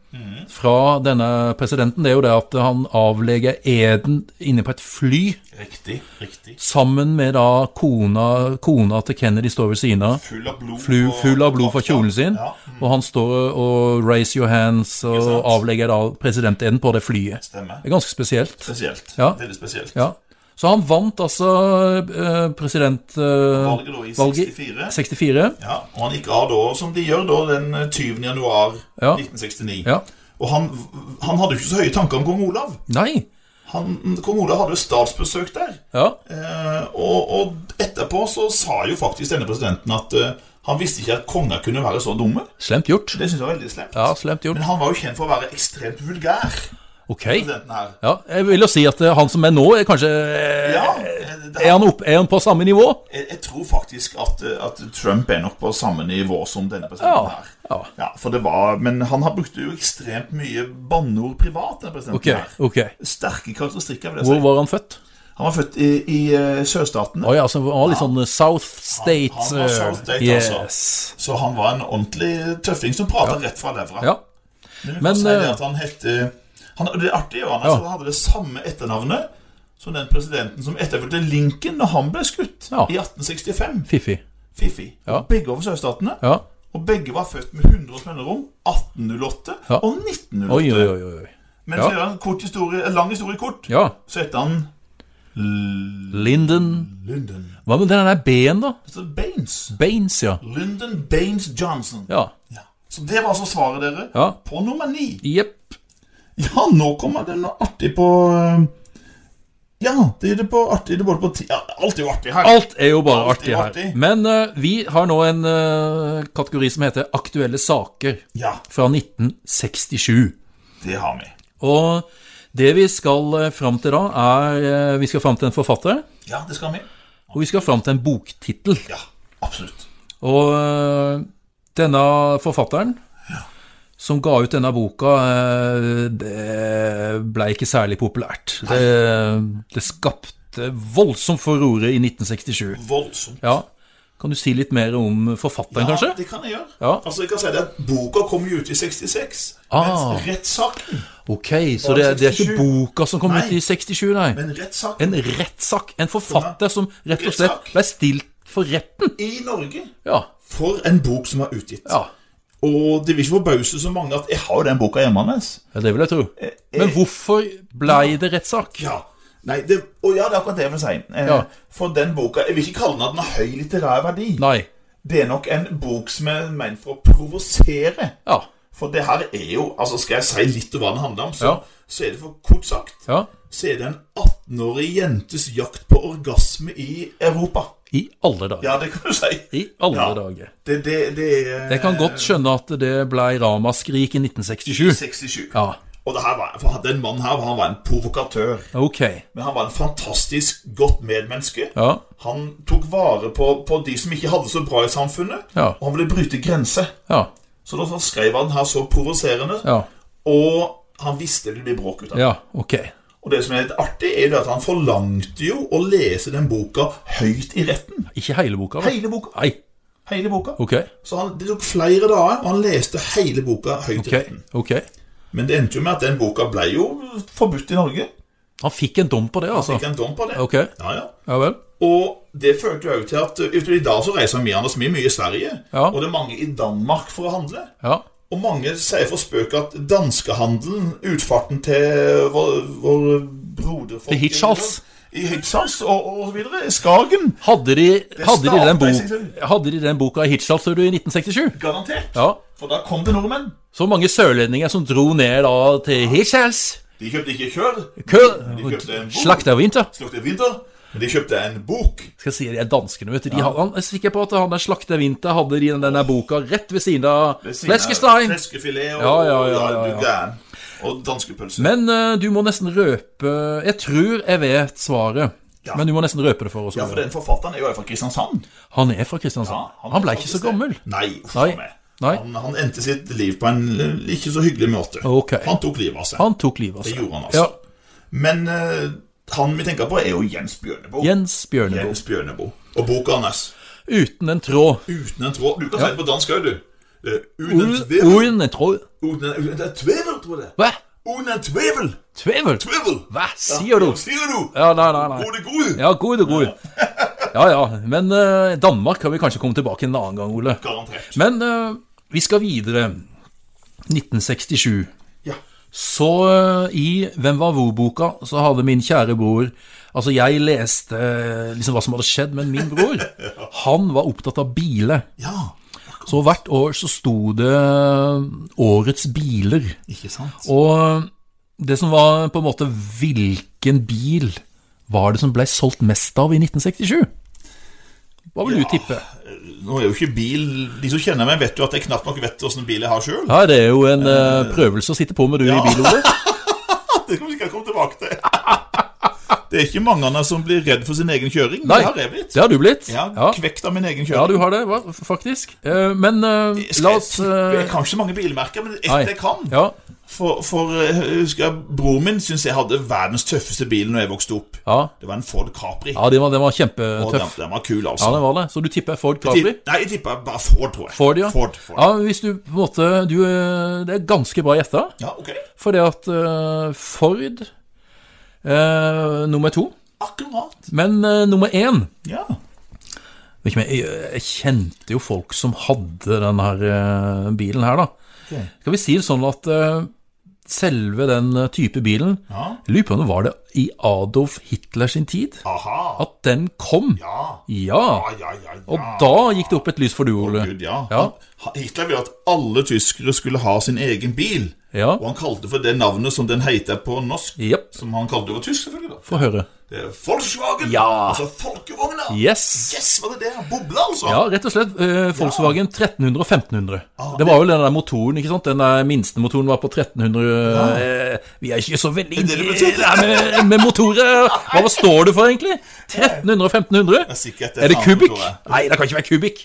Speaker 1: fra denne presidenten, det er jo det at han avlegger eden inne på et fly
Speaker 2: Riktig. riktig
Speaker 1: sammen med da kona, kona til Kennedy står ved siden av.
Speaker 2: Full av blod.
Speaker 1: Flu,
Speaker 2: på-
Speaker 1: full av blod fra
Speaker 2: på
Speaker 1: kjolen sin,
Speaker 2: kaften. Ja,
Speaker 1: og han står og 'raise your hands' og
Speaker 2: sant?
Speaker 1: avlegger da presidenteden på det flyet.
Speaker 2: stemmer.
Speaker 1: Det er ganske spesielt.
Speaker 2: Spesielt.
Speaker 1: Ja.
Speaker 2: Veldig spesielt.
Speaker 1: Ja. Så han vant altså eh, presidentvalget
Speaker 2: Valget da i 64.
Speaker 1: 64.
Speaker 2: Ja, og han gikk av da, som de gjør da, den eh, 20. januar
Speaker 1: Ja.
Speaker 2: 1969.
Speaker 1: Ja.
Speaker 2: Og han, han hadde jo ikke så høye tanker om kong Olav.
Speaker 1: Nei.
Speaker 2: Han, kong Olav hadde jo statsbesøk der.
Speaker 1: Ja.
Speaker 2: Eh, og, og etterpå så sa jo faktisk denne presidenten at eh, han visste ikke at konger kunne være så dumme.
Speaker 1: Slemt gjort.
Speaker 2: Det syns jeg var veldig slemt.
Speaker 1: Ja, slemt gjort.
Speaker 2: Men han var jo kjent for å være ekstremt vulgær,
Speaker 1: Ok.
Speaker 2: presidenten her.
Speaker 1: Ja, jeg vil jo si at eh, han som er nå, er kanskje eh,
Speaker 2: Ja, eh, det,
Speaker 1: er, han opp, er han på samme nivå?
Speaker 2: jeg, jeg tror faktisk at, eh, at Trump er nok på samme nivå som denne
Speaker 1: Ja.
Speaker 2: presidenten her.
Speaker 1: ja.
Speaker 2: Ja, for det var, Men han har brukt jo ekstremt mye banneord privat. denne presidenten
Speaker 1: Ok.
Speaker 2: her.
Speaker 1: ok.
Speaker 2: Sterke karakteristikker. vil jeg
Speaker 1: Hvor
Speaker 2: si.
Speaker 1: var han født?
Speaker 2: Han var født i, i eh, sørstatene,
Speaker 1: Å ja, så han var litt sånn eh, South State.
Speaker 2: Han- han var South
Speaker 1: eh,
Speaker 2: State,
Speaker 1: yes.
Speaker 2: altså. så han var en ordentlig tøffing som prata rett fra levra.
Speaker 1: Ja.
Speaker 2: Men, vi kan
Speaker 1: Men,
Speaker 2: si det
Speaker 1: eh,
Speaker 2: at han hette han, og Det artige var at
Speaker 1: Ja.
Speaker 2: Altså, han hadde det samme etternavnet som den presidenten som etterfulgte Lincoln når han ble skutt
Speaker 1: Ja.
Speaker 2: i 1865.
Speaker 1: Fiffig.
Speaker 2: Fifi.
Speaker 1: Ja.
Speaker 2: Og Begge over sørstatene.
Speaker 1: Ja.
Speaker 2: Og begge var født med 100 års mellomrom. 1808
Speaker 1: Ja.
Speaker 2: og 1908.
Speaker 1: Oi, oi, oi. oi.
Speaker 2: Men
Speaker 1: Ja.
Speaker 2: for å gjøre en kort historie, en lang historie kort,
Speaker 1: Ja.
Speaker 2: så heter han L-
Speaker 1: Linden
Speaker 2: Lyndon
Speaker 1: Hva med den der B-en, da?
Speaker 2: altså Baines.
Speaker 1: Baines, ja.
Speaker 2: Lyndon Baines Johnson.
Speaker 1: Ja.
Speaker 2: Ja. Så det var altså svaret, dere.
Speaker 1: Ja.
Speaker 2: På nummer ni.
Speaker 1: Jepp.
Speaker 2: Ja, nå kommer det noe artig på eh, Ja, det er det på artig. Det er både på ti... Ja, alt er jo artig her.
Speaker 1: Alt er jo bare
Speaker 2: Alt
Speaker 1: artig
Speaker 2: er
Speaker 1: her.
Speaker 2: artig.
Speaker 1: Men eh, vi har nå en eh, kategori som heter Aktuelle saker
Speaker 2: Ja,
Speaker 1: fra 1967.
Speaker 2: det har vi.
Speaker 1: Og det vi skal uh, fram til da, er eh, Vi skal fram til en forfatter,
Speaker 2: Ja, det skal vi.
Speaker 1: og vi skal fram til en boktittel.
Speaker 2: Ja, absolutt.
Speaker 1: Og eh, denne forfatteren som ga ut denne boka, eh, det ble ikke særlig populært. Det, det skapte voldsomt forordet i 1967.
Speaker 2: Voldsomt.
Speaker 1: Ja. Kan du si litt mer om forfatteren, kanskje?
Speaker 2: Ja, det kan jeg gjøre.
Speaker 1: Ja.
Speaker 2: Altså, jeg kan si det at Boka kom jo ut i 66,
Speaker 1: Ah.
Speaker 2: mens rettssaken
Speaker 1: Ok, så
Speaker 2: Var
Speaker 1: det,
Speaker 2: det
Speaker 1: det er ikke
Speaker 2: 67?
Speaker 1: boka som kom ut
Speaker 2: Nei.
Speaker 1: i 67, nei.
Speaker 2: Men rettssaken
Speaker 1: En rettssak. En forfatter som rett og slett
Speaker 2: Rettssak.
Speaker 1: ble stilt for retten.
Speaker 2: i Norge
Speaker 1: Ja.
Speaker 2: for en bok som er utgitt.
Speaker 1: ja.
Speaker 2: Og det vil ikke forbause så mange at jeg har jo den boka hjemme hans.
Speaker 1: Ja, Det vil jeg tro. Men hvorfor blei det rettssak?
Speaker 2: Eh, Ja. Nei, det, og ja, det er akkurat det jeg vil si. Eh,
Speaker 1: Ja.
Speaker 2: For den boka Jeg vil ikke kalle den at den har høy litterær verdi.
Speaker 1: Nei.
Speaker 2: Det er nok en bok som er ment for å provosere.
Speaker 1: Ja.
Speaker 2: For det her er jo altså Skal jeg si litt om hva den handler om, så,
Speaker 1: Ja.
Speaker 2: så er det for kort sagt
Speaker 1: ja.
Speaker 2: Så er det en 18-årig jentes jakt på orgasme i Europa.
Speaker 1: I alle dager.
Speaker 2: Ja, det kan du si.
Speaker 1: I alle
Speaker 2: Ja.
Speaker 1: dager.
Speaker 2: Det, det, det er eh,
Speaker 1: Jeg kan godt skjønne at det blei ramaskrik i 1967.
Speaker 2: 67.
Speaker 1: Ja.
Speaker 2: Og det her var, for den mannen her han var en provokatør.
Speaker 1: Ok.
Speaker 2: Men han var en fantastisk godt medmenneske.
Speaker 1: Ja.
Speaker 2: Han tok vare på, på de som ikke hadde så bra i samfunnet,
Speaker 1: Ja.
Speaker 2: og han ville bryte grenser.
Speaker 1: Ja.
Speaker 2: Så da skrev han her så provoserende,
Speaker 1: Ja.
Speaker 2: og han visste det ble bråk ut av det.
Speaker 1: Ja. Ok.
Speaker 2: Og det som er litt artig, er jo det at han forlangte jo å lese den boka høyt i retten.
Speaker 1: Ikke hele boka, vel?
Speaker 2: Hele boka.
Speaker 1: Nei.
Speaker 2: Hele boka.
Speaker 1: Ok.
Speaker 2: Så han, det tok flere dager, og han leste hele boka høyt
Speaker 1: Ok.
Speaker 2: i retten.
Speaker 1: Ok.
Speaker 2: Men det endte jo med at den boka ble jo forbudt i Norge.
Speaker 1: Han fikk en dom på det, altså.
Speaker 2: Fikk en dom på det.
Speaker 1: Ok.
Speaker 2: Ja, ja.
Speaker 1: Ja vel.
Speaker 2: Og det førte jo også til at uh, utover i dag så reiser Mian og Smi mye i Sverige.
Speaker 1: Ja.
Speaker 2: Og det er mange i Danmark for å handle.
Speaker 1: Ja.
Speaker 2: Og mange sier for spøk at danskehandelen, utfarten til vår, vår broderfolk
Speaker 1: Til Hirtshals.
Speaker 2: i Hiksas og, og så videre. Skagen.
Speaker 1: Hadde de, hadde de, den,
Speaker 2: startet i
Speaker 1: bo
Speaker 2: 67.
Speaker 1: hadde de den boka i Hitchhals du, i 1967?
Speaker 2: Garantert.
Speaker 1: Ja.
Speaker 2: For da kom det nordmenn.
Speaker 1: Så mange sørlendinger som dro ned da til Hitchhals.
Speaker 2: De kjøpte ikke kjør,
Speaker 1: Kø-
Speaker 2: kjøpte en bok.
Speaker 1: Slakta vinter.
Speaker 2: slukte vinter, men de kjøpte en bok.
Speaker 1: Skal jeg si de er danskene, vet du. De har- han, jeg er sikker på at han der Slakta vinter hadde de den der boka rett ved siden av
Speaker 2: Ved siden av
Speaker 1: Fleskestein.
Speaker 2: Fleskefilet og
Speaker 1: Ja, ja, ja, ja,
Speaker 2: du
Speaker 1: ja.
Speaker 2: gæren. Og danskepølse.
Speaker 1: Men eh, du må nesten røpe Jeg tror jeg vet svaret.
Speaker 2: Ja.
Speaker 1: Men du må nesten røpe det for oss.
Speaker 2: Ja, for den forfatteren er jo fra Kristiansand.
Speaker 1: Han er fra Kristiansand.
Speaker 2: Ja,
Speaker 1: han ble ikke så
Speaker 2: faktisk det.
Speaker 1: gammel.
Speaker 2: Nei, uff
Speaker 1: Nei.
Speaker 2: a meg.
Speaker 1: Nei.
Speaker 2: Han, han endte sitt liv på en eh, ikke så hyggelig måte.
Speaker 1: Ok.
Speaker 2: Han tok livet av seg.
Speaker 1: Han tok livet av
Speaker 2: Det
Speaker 1: seg.
Speaker 2: gjorde han altså. Men eh, han vi tenker på, er jo Jens Bjørneboe.
Speaker 1: Ja, Jens Bjørneboe.
Speaker 2: Jens Bjørneboe. Og boka hans.
Speaker 1: Uten en tråd.
Speaker 2: Uten en tråd. Du kan si det på dansk òg, du. Eh, Uten en tvevel.
Speaker 1: Uten en tråd.
Speaker 2: Uten en- uten en tvevel, tror jeg det.
Speaker 1: Hva?
Speaker 2: Uten en tvevel.
Speaker 1: Tvevel?
Speaker 2: Tvevel.
Speaker 1: Hva sier du?
Speaker 2: Sier du?
Speaker 1: Ja, nei, nei, nei.
Speaker 2: Gode gode.
Speaker 1: Ja, god, god. Ja, ja. Men eh, Danmark kan vi kanskje komme tilbake en annen gang, Ole.
Speaker 2: Garantert.
Speaker 1: Men eh, vi skal videre. 1967.
Speaker 2: Ja.
Speaker 1: Så eh, i Hvem var hvor-boka så hadde min kjære bror Altså, jeg leste eh, liksom hva som hadde skjedd, men min bror han var opptatt av biler.
Speaker 2: ja.
Speaker 1: Så hvert år så sto det eh, Årets biler.
Speaker 2: Ikke sant?
Speaker 1: Og eh, det som var på en måte Hvilken bil var det som ble solgt mest av i 1967? Hva vil du tippe?
Speaker 2: Nå er jo ikke bil De som kjenner meg, vet jo at jeg knapt nok vet åssen bil jeg har
Speaker 1: <laughs>
Speaker 2: sjøl.
Speaker 1: Ja, det er jo en eh, prøvelse å sitte på med du i bil, Ole.
Speaker 2: Det kan vi sikkert komme tilbake til. Det er ikke mange av dem som blir redd for sin egen kjøring.
Speaker 1: Nei,
Speaker 2: Det har jeg blitt.
Speaker 1: det har du blitt.
Speaker 2: Jeg har
Speaker 1: ja.
Speaker 2: kvekt av min egen
Speaker 1: Ja,
Speaker 2: kjøring.
Speaker 1: du har det, hva? F- faktisk. Eh, men eh,
Speaker 2: Skal
Speaker 1: la
Speaker 2: jeg
Speaker 1: oss
Speaker 2: tippe-
Speaker 1: eh,
Speaker 2: jeg kan ikke så mange bilmerker, men ett
Speaker 1: nei.
Speaker 2: jeg kan.
Speaker 1: Ja,
Speaker 2: For, for eh, jeg husker jeg, broren min syntes jeg hadde verdens tøffeste bil når jeg vokste opp.
Speaker 1: ja.
Speaker 2: Det var en Ford Capri.
Speaker 1: ja den, var, den var
Speaker 2: og den,
Speaker 1: kjempetøff.
Speaker 2: den var kul,
Speaker 1: Ja,
Speaker 2: altså.
Speaker 1: den var det. Så du tipper Ford Capri?
Speaker 2: Ti- Nei, jeg tippa bare Ford, tror jeg.
Speaker 1: Ford, ja.
Speaker 2: Ford, Ford.
Speaker 1: Ja, hvis du på en måte du, eh, Det er ganske bra gjetta,
Speaker 2: Ja, ok.
Speaker 1: for det at eh, Ford eh, nummer to,
Speaker 2: Akkurat.
Speaker 1: men eh, nummer én
Speaker 2: Ja.
Speaker 1: Vet ikke om jeg, jeg kjente jo folk som hadde den her eh, bilen her, da.
Speaker 2: Ok.
Speaker 1: Skal vi si det sånn at eh, selve den eh, type bilen
Speaker 2: ja.
Speaker 1: Jeg lurer på om det var det i Adolf Hitler sin tid
Speaker 2: Aha.
Speaker 1: at den kom.
Speaker 2: Ja.
Speaker 1: Ja.
Speaker 2: Ja, ja, ja. ja.
Speaker 1: Og da gikk det opp et lys for du, Ole.
Speaker 2: Gud, ja.
Speaker 1: Ja.
Speaker 2: Han- Hitler ville at alle tyskere skulle ha sin egen bil.
Speaker 1: Ja.
Speaker 2: Og han kalte for det navnet som den heter på norsk,
Speaker 1: Jepp.
Speaker 2: som han kalte over tysk, selvfølgelig. da
Speaker 1: Få høre.
Speaker 2: Det er Volkswagen.
Speaker 1: Ja.
Speaker 2: Altså folkevogna.
Speaker 1: Yes.
Speaker 2: Yes, var det det? Boble, altså.
Speaker 1: Ja, rett og slett. Eh, Volkswagen 1300 og 1500.
Speaker 2: Ah,
Speaker 1: Det var jo den der motoren, ikke sant? Den der minste motoren var på 1300 eh, Vi er ikke så veldig
Speaker 2: det det betyr?
Speaker 1: Nei, med, med motorer Hva hva står det for, egentlig? 1300 og 1500?
Speaker 2: er sikkert det
Speaker 1: Er det
Speaker 2: samme
Speaker 1: kubikk?
Speaker 2: motoret.
Speaker 1: Nei, det kan ikke være kubikk.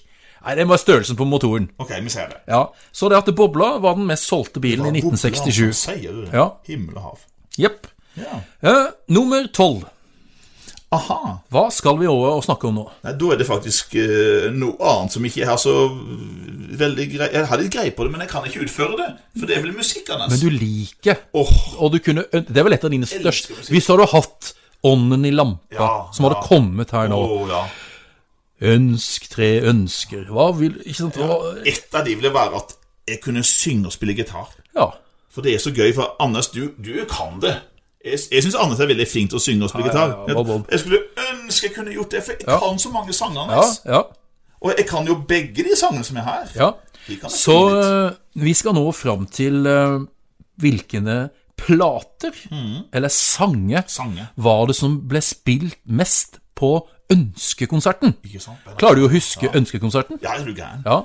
Speaker 1: Nei, det må være størrelsen på motoren.
Speaker 2: Ok, vi ser det.
Speaker 1: Ja, Så det at bobla var altså. den mest solgte bilen i 1967.
Speaker 2: Hva sier du det?
Speaker 1: Ja.
Speaker 2: Himmel og hav.
Speaker 1: Jepp.
Speaker 2: Ja.
Speaker 1: Eh, nummer tolv.
Speaker 2: Aha.
Speaker 1: Hva skal vi over og snakke om nå?
Speaker 2: Nei, da er det faktisk eh, noe annet som ikke jeg har så veldig grei Jeg har litt greie på det, men jeg kan ikke utføre det. For det er vel musikk hans.
Speaker 1: Men du liker,
Speaker 2: Åh,
Speaker 1: og du kunne øn- Det er vel et av dine største
Speaker 2: musikk.
Speaker 1: Hvis du hadde hatt Ånden i lampa,
Speaker 2: Ja,
Speaker 1: som hadde
Speaker 2: ja.
Speaker 1: kommet her nå
Speaker 2: åh, ja.
Speaker 1: Ønsk tre ønsker Hva vil Ikke sant? Hva,
Speaker 2: Et av de ville være at jeg kunne synge og spille gitar.
Speaker 1: ja.
Speaker 2: For det er så gøy, for Anders, du, du kan det. Jeg, jeg syns Anders er veldig flink til å synge og spille
Speaker 1: Ja, ja,
Speaker 2: gitar.
Speaker 1: ja, Bob,
Speaker 2: Jeg,
Speaker 1: Bob.
Speaker 2: jeg skulle ønske jeg kunne gjort det, for jeg
Speaker 1: Ja.
Speaker 2: kan så mange sanger
Speaker 1: Ja,
Speaker 2: hans.
Speaker 1: ja,
Speaker 2: Og jeg kan jo begge de sangene som er her.
Speaker 1: ja.
Speaker 2: De kan jeg
Speaker 1: Så
Speaker 2: synge litt.
Speaker 1: eh, vi skal nå fram til uh, hvilke plater, eller sanger,
Speaker 2: Sange,
Speaker 1: var det som ble spilt mest på ønskekonserten?
Speaker 2: ikke sant?
Speaker 1: Klarer du å huske ønskekonserten?
Speaker 2: Ja, er du gæren?
Speaker 1: Ja.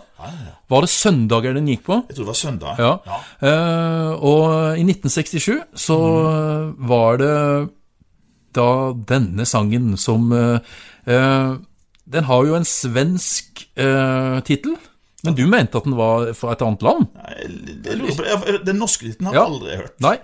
Speaker 1: Var det søndager den gikk på?
Speaker 2: Jeg tror det var søndag.
Speaker 1: Ja. Eh, og i 1967 så
Speaker 2: Mm.
Speaker 1: eh, var det da denne sangen som eh, eh, Den har jo en svensk uh, tittel, men du mente at den var fra et annet land?
Speaker 2: Nei, jeg, jeg lurer på, jeg, den norske liten har
Speaker 1: Ja.
Speaker 2: jeg aldri hørt.
Speaker 1: Nei.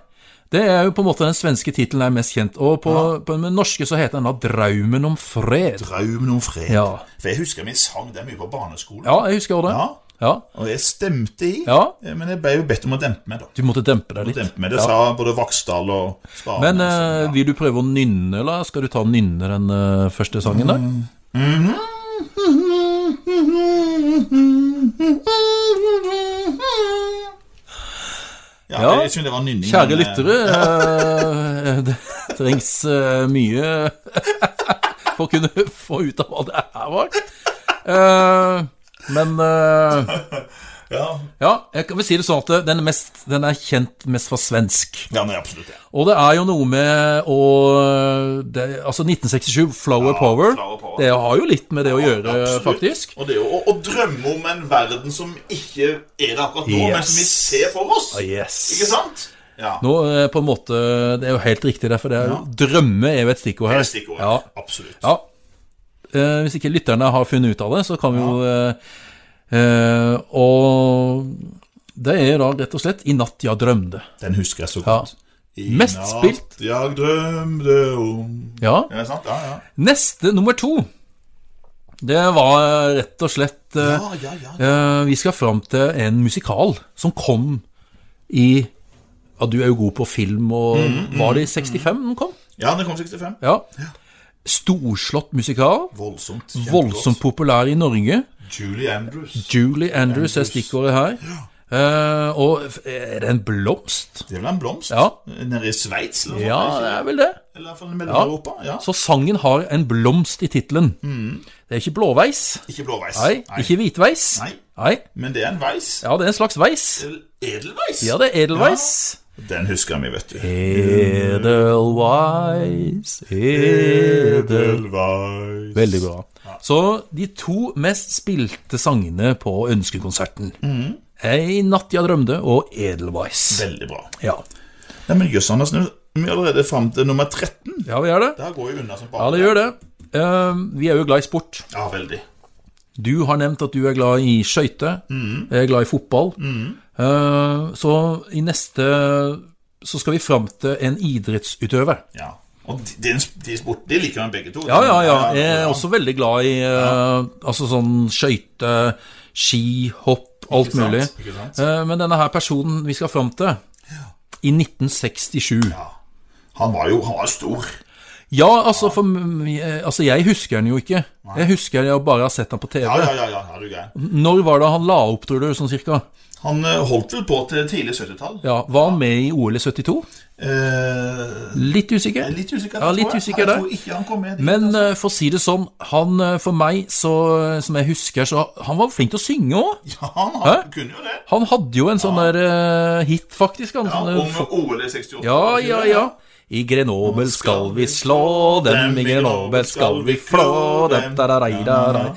Speaker 1: Det er jo på en måte den svenske tittelen er mest kjent. Og på, på den norske så heter den da 'Draumen om fred'.
Speaker 2: Drømmen om fred.
Speaker 1: Ja.
Speaker 2: For jeg husker vi sang den mye på barneskolen.
Speaker 1: Ja, jeg husker det.
Speaker 2: Ja.
Speaker 1: Ja.
Speaker 2: Og jeg stemte i, Eh,
Speaker 1: Ja.
Speaker 2: men jeg ble jo bedt om å dempe meg, da.
Speaker 1: Du måtte dempe deg litt.
Speaker 2: Dempe meg, Det sa både Vaksdal og Skaren.
Speaker 1: Men
Speaker 2: altså.
Speaker 1: eh, vil du prøve å nynne, eller skal du ta og nynne den eh, første sangen der?
Speaker 2: ja,
Speaker 1: ja.
Speaker 2: Jeg synes det var nynning.
Speaker 1: Kjære
Speaker 2: men, eh,
Speaker 1: lyttere, eh, det- trengs eh, mye <laughs> for å kunne få ut av hva det her var. Eh, men eh,
Speaker 2: Ja,
Speaker 1: ja, jeg kan vel si det sånn at den er, mest, den er kjent mest for svensk.
Speaker 2: ja nei, absolutt. Ja.
Speaker 1: Og det er jo noe med å det, Altså 1967, Flower Power.
Speaker 2: Flower Power.
Speaker 1: Det har jo litt med det å gjøre,
Speaker 2: Absolutt.
Speaker 1: faktisk.
Speaker 2: Og det er jo å, å drømme om en verden som ikke er der akkurat nå, men som vi
Speaker 1: Yes.
Speaker 2: ser for oss.
Speaker 1: Yes.
Speaker 2: Ikke sant? Ja.
Speaker 1: Nå, eh, på en måte, Det er jo helt riktig, derfor. Det er, jo- Drømme er jo et stikkord
Speaker 2: Det
Speaker 1: her.
Speaker 2: er stikkordet.
Speaker 1: Ja.
Speaker 2: Absolutt.
Speaker 1: Ja. Eh, hvis ikke lytterne har funnet ut av det, så kan vi jo eh, eh, Og det er da rett og slett 'I natt jeg drømte'.
Speaker 2: Den husker jeg så
Speaker 1: Ja.
Speaker 2: godt. I
Speaker 1: Mest
Speaker 2: natt
Speaker 1: spilt.
Speaker 2: Jeg drømte om
Speaker 1: Ja.
Speaker 2: Ja, sant? Ja, ja.
Speaker 1: Neste, nummer to, det var eh, rett og slett eh,
Speaker 2: Ja, ja, ja.
Speaker 1: eh, Vi skal fram til en musikal som kom i Ja, du er jo god på film, og var det i 65 den kom?
Speaker 2: ja den kom 65.
Speaker 1: Mm, Ja. Storslått musikal.
Speaker 2: Voldsomt.
Speaker 1: Voldsomt populær i Norge.
Speaker 2: Julie Andrews.
Speaker 1: Julie Andrews er
Speaker 2: Andrews.
Speaker 1: stikkordet her. Eh, og f- er det en blomst?
Speaker 2: Det er vel en blomst?
Speaker 1: Ja.
Speaker 2: Nede i Sveits, eller noe
Speaker 1: Ja,
Speaker 2: sånt,
Speaker 1: det
Speaker 2: ikke?
Speaker 1: er vel det.
Speaker 2: Eller i hvert fall i Mellom-Europa. Ja.
Speaker 1: Så sangen har en blomst i tittelen. Det er ikke blåveis.
Speaker 2: Ikke blåveis.
Speaker 1: Mm. Nei, ikke hvitveis.
Speaker 2: Nei.
Speaker 1: Nei.
Speaker 2: Men det er en veis.
Speaker 1: Ja, det er en slags veis.
Speaker 2: Edelveis.
Speaker 1: Ja, det er edelveis.
Speaker 2: Den husker vi, vet du.
Speaker 1: Edelweiss, edel...
Speaker 2: Edelveis.
Speaker 1: Veldig bra. Så de to mest spilte sangene på Ønskekonserten. Ei natt jeg drømte og Edelweiss.
Speaker 2: Veldig bra.
Speaker 1: Ja.
Speaker 2: Nei, men jøss, Anders, nå er vi allerede fram til nummer 13.
Speaker 1: ja, vi er det.
Speaker 2: Det her går jo unna som
Speaker 1: Ja,
Speaker 2: bare
Speaker 1: det gjør det. Eh, vi er jo glad i sport.
Speaker 2: Ja, veldig.
Speaker 1: Du har nevnt at du er glad i skøyter. Jeg er glad i fotball. Eh, så i neste så skal vi fram til en idrettsutøver.
Speaker 2: Ja. Og de, de, de sport, de liker man begge to.
Speaker 1: Ja, ja, ja. Jeg er
Speaker 2: ja.
Speaker 1: også veldig glad i eh, altså sånn skøyter, ski, hopp, alt
Speaker 2: Ikke sant,
Speaker 1: mulig.
Speaker 2: ikke sant?
Speaker 1: Eh, men denne her personen vi skal fram til i 1967. Ja,
Speaker 2: Han var jo han var stor.
Speaker 1: altså, for, eh, altså jeg husker han jo ikke. Jeg husker jeg bare har sett han på TV.
Speaker 2: Ja, ja, ja, ja, er du gæren.
Speaker 1: Når var det han la opp, tror du, sånn cirka?
Speaker 2: Han eh, holdt vel på til tidlig 70-tall.
Speaker 1: Ja, Var han med i OL i 72?
Speaker 2: Eh,
Speaker 1: Litt usikker.
Speaker 2: litt usikker,
Speaker 1: Ja, litt
Speaker 2: tror jeg.
Speaker 1: usikker
Speaker 2: jeg
Speaker 1: der.
Speaker 2: tror ikke han kom med dit.
Speaker 1: Men eh, for å si det sånn, han eh, for meg, så, som jeg husker, så Han var flink til å synge òg.
Speaker 2: Ja, han, han kunne jo det.
Speaker 1: Han hadde jo en sånn der eh, hit, faktisk. Han,
Speaker 2: Ja,
Speaker 1: sånn, eh,
Speaker 2: om OL i 68.
Speaker 1: ja, ja, ja. I Grenoble skal vi slå dem, i Grenoble skal vi flå dem da, da, da, da, da.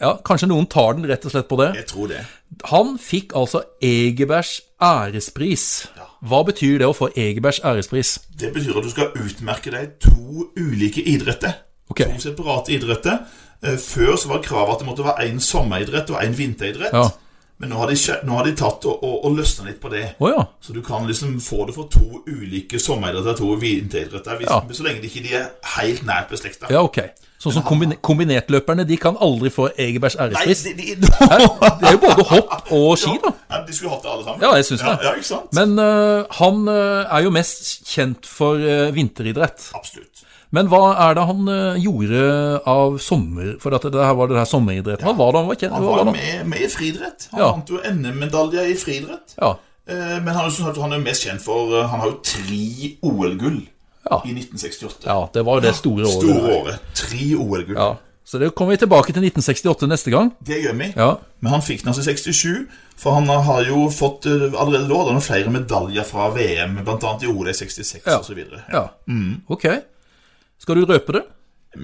Speaker 1: Ja, Kanskje noen tar den rett og slett på det.
Speaker 2: Jeg tror det.
Speaker 1: Han fikk altså Egebergs ærespris. Hva betyr det å få Egebergs ærespris?
Speaker 2: Det betyr at du skal utmerke deg i to ulike idretter.
Speaker 1: Ok.
Speaker 2: To separate idretter. Eh, Før så var kravet at det måtte være én sommeridrett og én vinteridrett.
Speaker 1: Ja.
Speaker 2: Men nå har de, skje- nå har de tatt og, og, og løsna litt på det.
Speaker 1: Å ja.
Speaker 2: Så du kan liksom få det for to ulike sommeridretter og to vinteridretter. Hvis,
Speaker 1: Ja.
Speaker 2: Så lenge de ikke de er helt nært beslekta.
Speaker 1: Ja, ok. Sånn som kombine kombinertløperne, de kan aldri få Egebergs
Speaker 2: Nei,
Speaker 1: ærespris.
Speaker 2: de,
Speaker 1: <laughs>
Speaker 2: de, de,
Speaker 1: Det er jo både hopp og ski, da.
Speaker 2: ja, de skulle hatt det alle sammen.
Speaker 1: Ja, jeg syns
Speaker 2: ja,
Speaker 1: det.
Speaker 2: ja, ikke sant?
Speaker 1: Men eh, han eh, er jo mest kjent for eh, vinteridrett.
Speaker 2: Absolutt.
Speaker 1: Men hva er det han eh, gjorde av sommer For at det her var det her sommeridretten. Hva var det han var kjent
Speaker 2: Han
Speaker 1: hva
Speaker 2: var
Speaker 1: var
Speaker 2: jo
Speaker 1: det han-
Speaker 2: med, med i friidrett. Han
Speaker 1: Ja.
Speaker 2: vant jo NM-medalje i friidrett.
Speaker 1: Ja.
Speaker 2: Eh, Men han er, jo sånn at han er mest kjent for eh, Han har jo tre OL-gull
Speaker 1: Ja.
Speaker 2: i 1968.
Speaker 1: ja, det var jo det store året.
Speaker 2: Store året. Tre OL-gull.
Speaker 1: Ja. Så det kommer vi tilbake til 1968 neste gang.
Speaker 2: Det gjør vi.
Speaker 1: Ja.
Speaker 2: Men han fikk den altså i 67, for han har jo fått eh, allerede da hadde han flere medaljer fra VM, bl.a. i OL i 66
Speaker 1: Ja.
Speaker 2: og osv. Ja.
Speaker 1: ja.
Speaker 2: Mm.
Speaker 1: Ok. Skal du røpe det?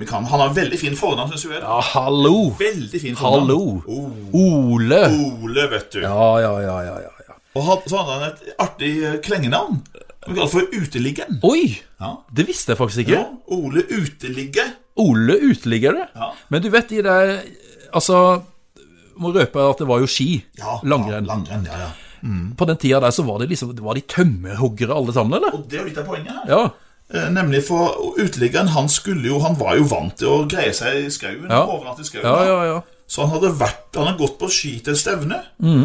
Speaker 2: Vi kan- Han har veldig fin fornavn, syns jeg.
Speaker 1: Ja, hallo!
Speaker 2: Veldig fin fornavn.
Speaker 1: Hallo!
Speaker 2: Oh,
Speaker 1: Ole!
Speaker 2: Ole, vet du.
Speaker 1: Ja, ja, ja, ja, ja, ja.
Speaker 2: Og han- så hadde han et artig eh, klengenavn. Han kalte for Uteliggen.
Speaker 1: Oi!
Speaker 2: Ja.
Speaker 1: Det visste jeg faktisk ikke.
Speaker 2: ja. Ole Uteligge.
Speaker 1: Ole uteliggere.
Speaker 2: Ja.
Speaker 1: Men du vet de der Altså, må røpe at det var jo ski.
Speaker 2: Ja,
Speaker 1: langrenn.
Speaker 2: Ja, langrenn, ja, ja.
Speaker 1: På den tida der så var det liksom Var de tømmerhoggere alle sammen, eller?
Speaker 2: Og det er jo litt av poenget her.
Speaker 1: Ja.
Speaker 2: Eh, Nemlig for uteliggeren, han skulle jo Han var jo vant til å greie seg i skauen.
Speaker 1: Ja.
Speaker 2: Overnatte i skauen.
Speaker 1: Ja, ja, ja.
Speaker 2: Så han hadde, vært, han hadde gått på ski til et stevne.
Speaker 1: Mm.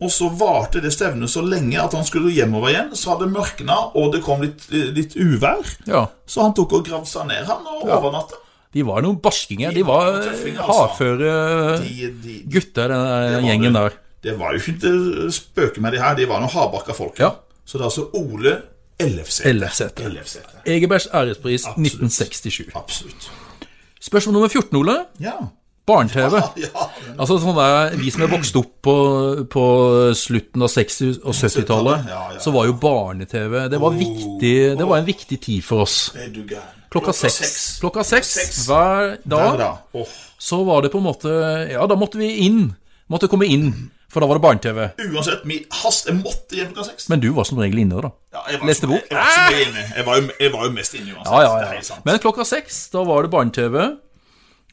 Speaker 2: Og så varte det stevnet så lenge at han skulle hjemover igjen. Så hadde det mørkna, og det kom litt, eh, litt uvær.
Speaker 1: ja.
Speaker 2: Så han tok og gravde seg ned, han, og overnatta.
Speaker 1: De var noen barskinger. De var
Speaker 2: De var tøffinger, altså.
Speaker 1: hardføre
Speaker 2: De, de, de,
Speaker 1: gutter, den der
Speaker 2: var
Speaker 1: gjengen
Speaker 2: det.
Speaker 1: der.
Speaker 2: det var jo ikke til å spøke med, de her. De var noen hardbakka folk.
Speaker 1: Ja.
Speaker 2: Så det er altså Ole LFZ.
Speaker 1: LFZ.
Speaker 2: LFZ.
Speaker 1: Egebergs ærespris
Speaker 2: Absolutt.
Speaker 1: 1967.
Speaker 2: Absolutt.
Speaker 1: Spørsmål nummer 14, Ole.
Speaker 2: Ja. <laughs>
Speaker 1: Barne-TV.
Speaker 2: ja.
Speaker 1: Altså sånn der, Vi som er vokst opp på, på slutten av 60- og 70-tallet,
Speaker 2: Ja, Oh. ja, ja.
Speaker 1: så var jo barne-TV Det var viktig Det var en viktig tid for oss.
Speaker 2: Er du gæren?
Speaker 1: Klokka seks. Klokka seks hver
Speaker 2: Ja
Speaker 1: dag
Speaker 2: da. Åh.
Speaker 1: så var det på en måte Ja, da måtte vi inn. Måtte komme inn, for da var det barne-TV.
Speaker 2: Uansett, min hast, jeg måtte hjem klokka seks.
Speaker 1: Men du var som regel inne, da.
Speaker 2: Ja, jeg var
Speaker 1: Neste
Speaker 2: som-
Speaker 1: bok. Ah!
Speaker 2: Jeg, jeg, var som inne. jeg, var jo, jeg var jo mest inne uansett.
Speaker 1: Ja, ja,
Speaker 2: Det er
Speaker 1: ja.
Speaker 2: helt sant.
Speaker 1: Men klokka seks, da var det barne-TV,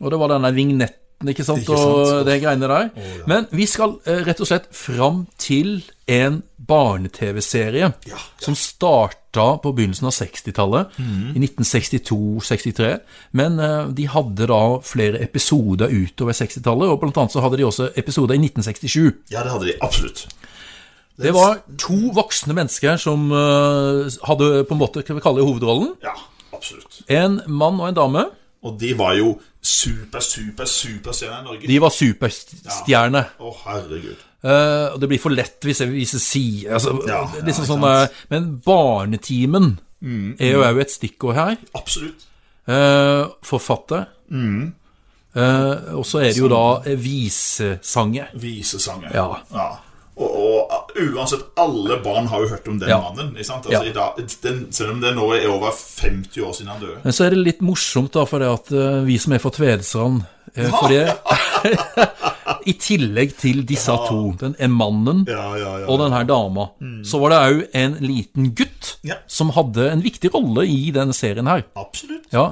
Speaker 1: og det var denne vignetten, ikke sant,
Speaker 2: Ikke sant.
Speaker 1: og det greiene der. Men vi skal eh, rett og slett fram til en barne-TV-serie
Speaker 2: ja.
Speaker 1: som starta på begynnelsen av 60-tallet,
Speaker 2: Mhm.
Speaker 1: i 1962-63. Men eh, de hadde da flere episoder utover 60-tallet, og blant annet så hadde de også episoder i 1967.
Speaker 2: ja, det hadde de absolutt.
Speaker 1: Det var to voksne mennesker som eh, hadde på en måte, hva vi kaller det, hovedrollen.
Speaker 2: Ja, absolutt.
Speaker 1: En mann og en dame.
Speaker 2: Og de var jo super, super, superstjerner i Norge.
Speaker 1: De var superstjerne.
Speaker 2: Å, herregud.
Speaker 1: Eh, og det blir for lett hvis jeg viser si... Altså,
Speaker 2: Ja,
Speaker 1: liksom
Speaker 2: ja,
Speaker 1: sånn,
Speaker 2: ikke sant. Mm,
Speaker 1: eh, men barnetimen er jo òg et stikkord her.
Speaker 2: Absolutt.
Speaker 1: Eh, forfatter.
Speaker 2: Mm.
Speaker 1: Eh, og så er det jo da eh, visesanger.
Speaker 2: Visesanger.
Speaker 1: Ja.
Speaker 2: Og, og uansett, alle barn har jo hørt om den
Speaker 1: Ja.
Speaker 2: mannen. Ikke sant? Altså,
Speaker 1: Ja.
Speaker 2: i dag, den, selv om det nå er over 50 år siden han døde.
Speaker 1: Men så er det litt morsomt, da, for det at eh, vi som er fra Tvedestrand eh, For det <laughs> I tillegg til disse to, den er mannen
Speaker 2: Ja, ja, ja.
Speaker 1: og den her dama, så var det òg en liten gutt
Speaker 2: Ja.
Speaker 1: som hadde en viktig rolle i denne serien her.
Speaker 2: Absolutt.
Speaker 1: Ja.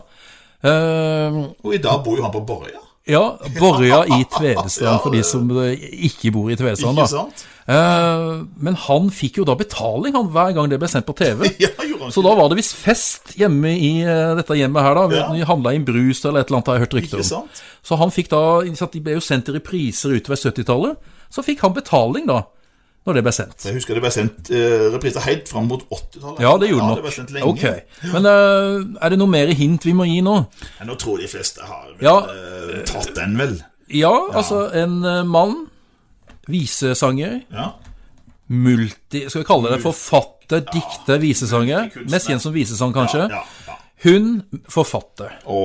Speaker 1: Eh,
Speaker 2: Og i dag bor jo han på Borøya.
Speaker 1: ja, Borja i Tvedestrand,
Speaker 2: Ja,
Speaker 1: for de som eh, ikke bor i Tvedestrand. da.
Speaker 2: Ikke sant? <laughs>
Speaker 1: Eh, men han fikk jo da betaling han, hver gang det ble sendt på TV.
Speaker 2: Ja, gjorde han
Speaker 1: Så
Speaker 2: ikke
Speaker 1: da var det visst fest hjemme i eh, dette hjemmet her, da.
Speaker 2: Ja.
Speaker 1: Vi handla inn brus eller et eller annet, har jeg hørt
Speaker 2: det?
Speaker 1: rykter
Speaker 2: Ikke
Speaker 1: om.
Speaker 2: sant?
Speaker 1: Så han fikk da ikke sant, De ble jo sendt i repriser utover 70-tallet. Så fikk han betaling, da, når det ble sendt.
Speaker 2: Jeg husker det ble sendt eh, repriser helt fram mot 80-tallet.
Speaker 1: Ja, det gjorde det
Speaker 2: ja, Det ble
Speaker 1: nok.
Speaker 2: sendt lenge.
Speaker 1: Ok. Men eh, er det noe mer hint vi må gi nå?
Speaker 2: Men nå tror jeg de fleste har vel,
Speaker 1: Ja.
Speaker 2: eh, tatt den, vel.
Speaker 1: Ja, altså, en eh, mann, visesanger,
Speaker 2: Ja.
Speaker 1: multi... Skal vi kalle det forfatter, dikter, visesanger?
Speaker 2: multikunstner.
Speaker 1: Mest kjent som visesang, kanskje.
Speaker 2: Ja, ja.
Speaker 1: Hun forfatter.
Speaker 2: Å,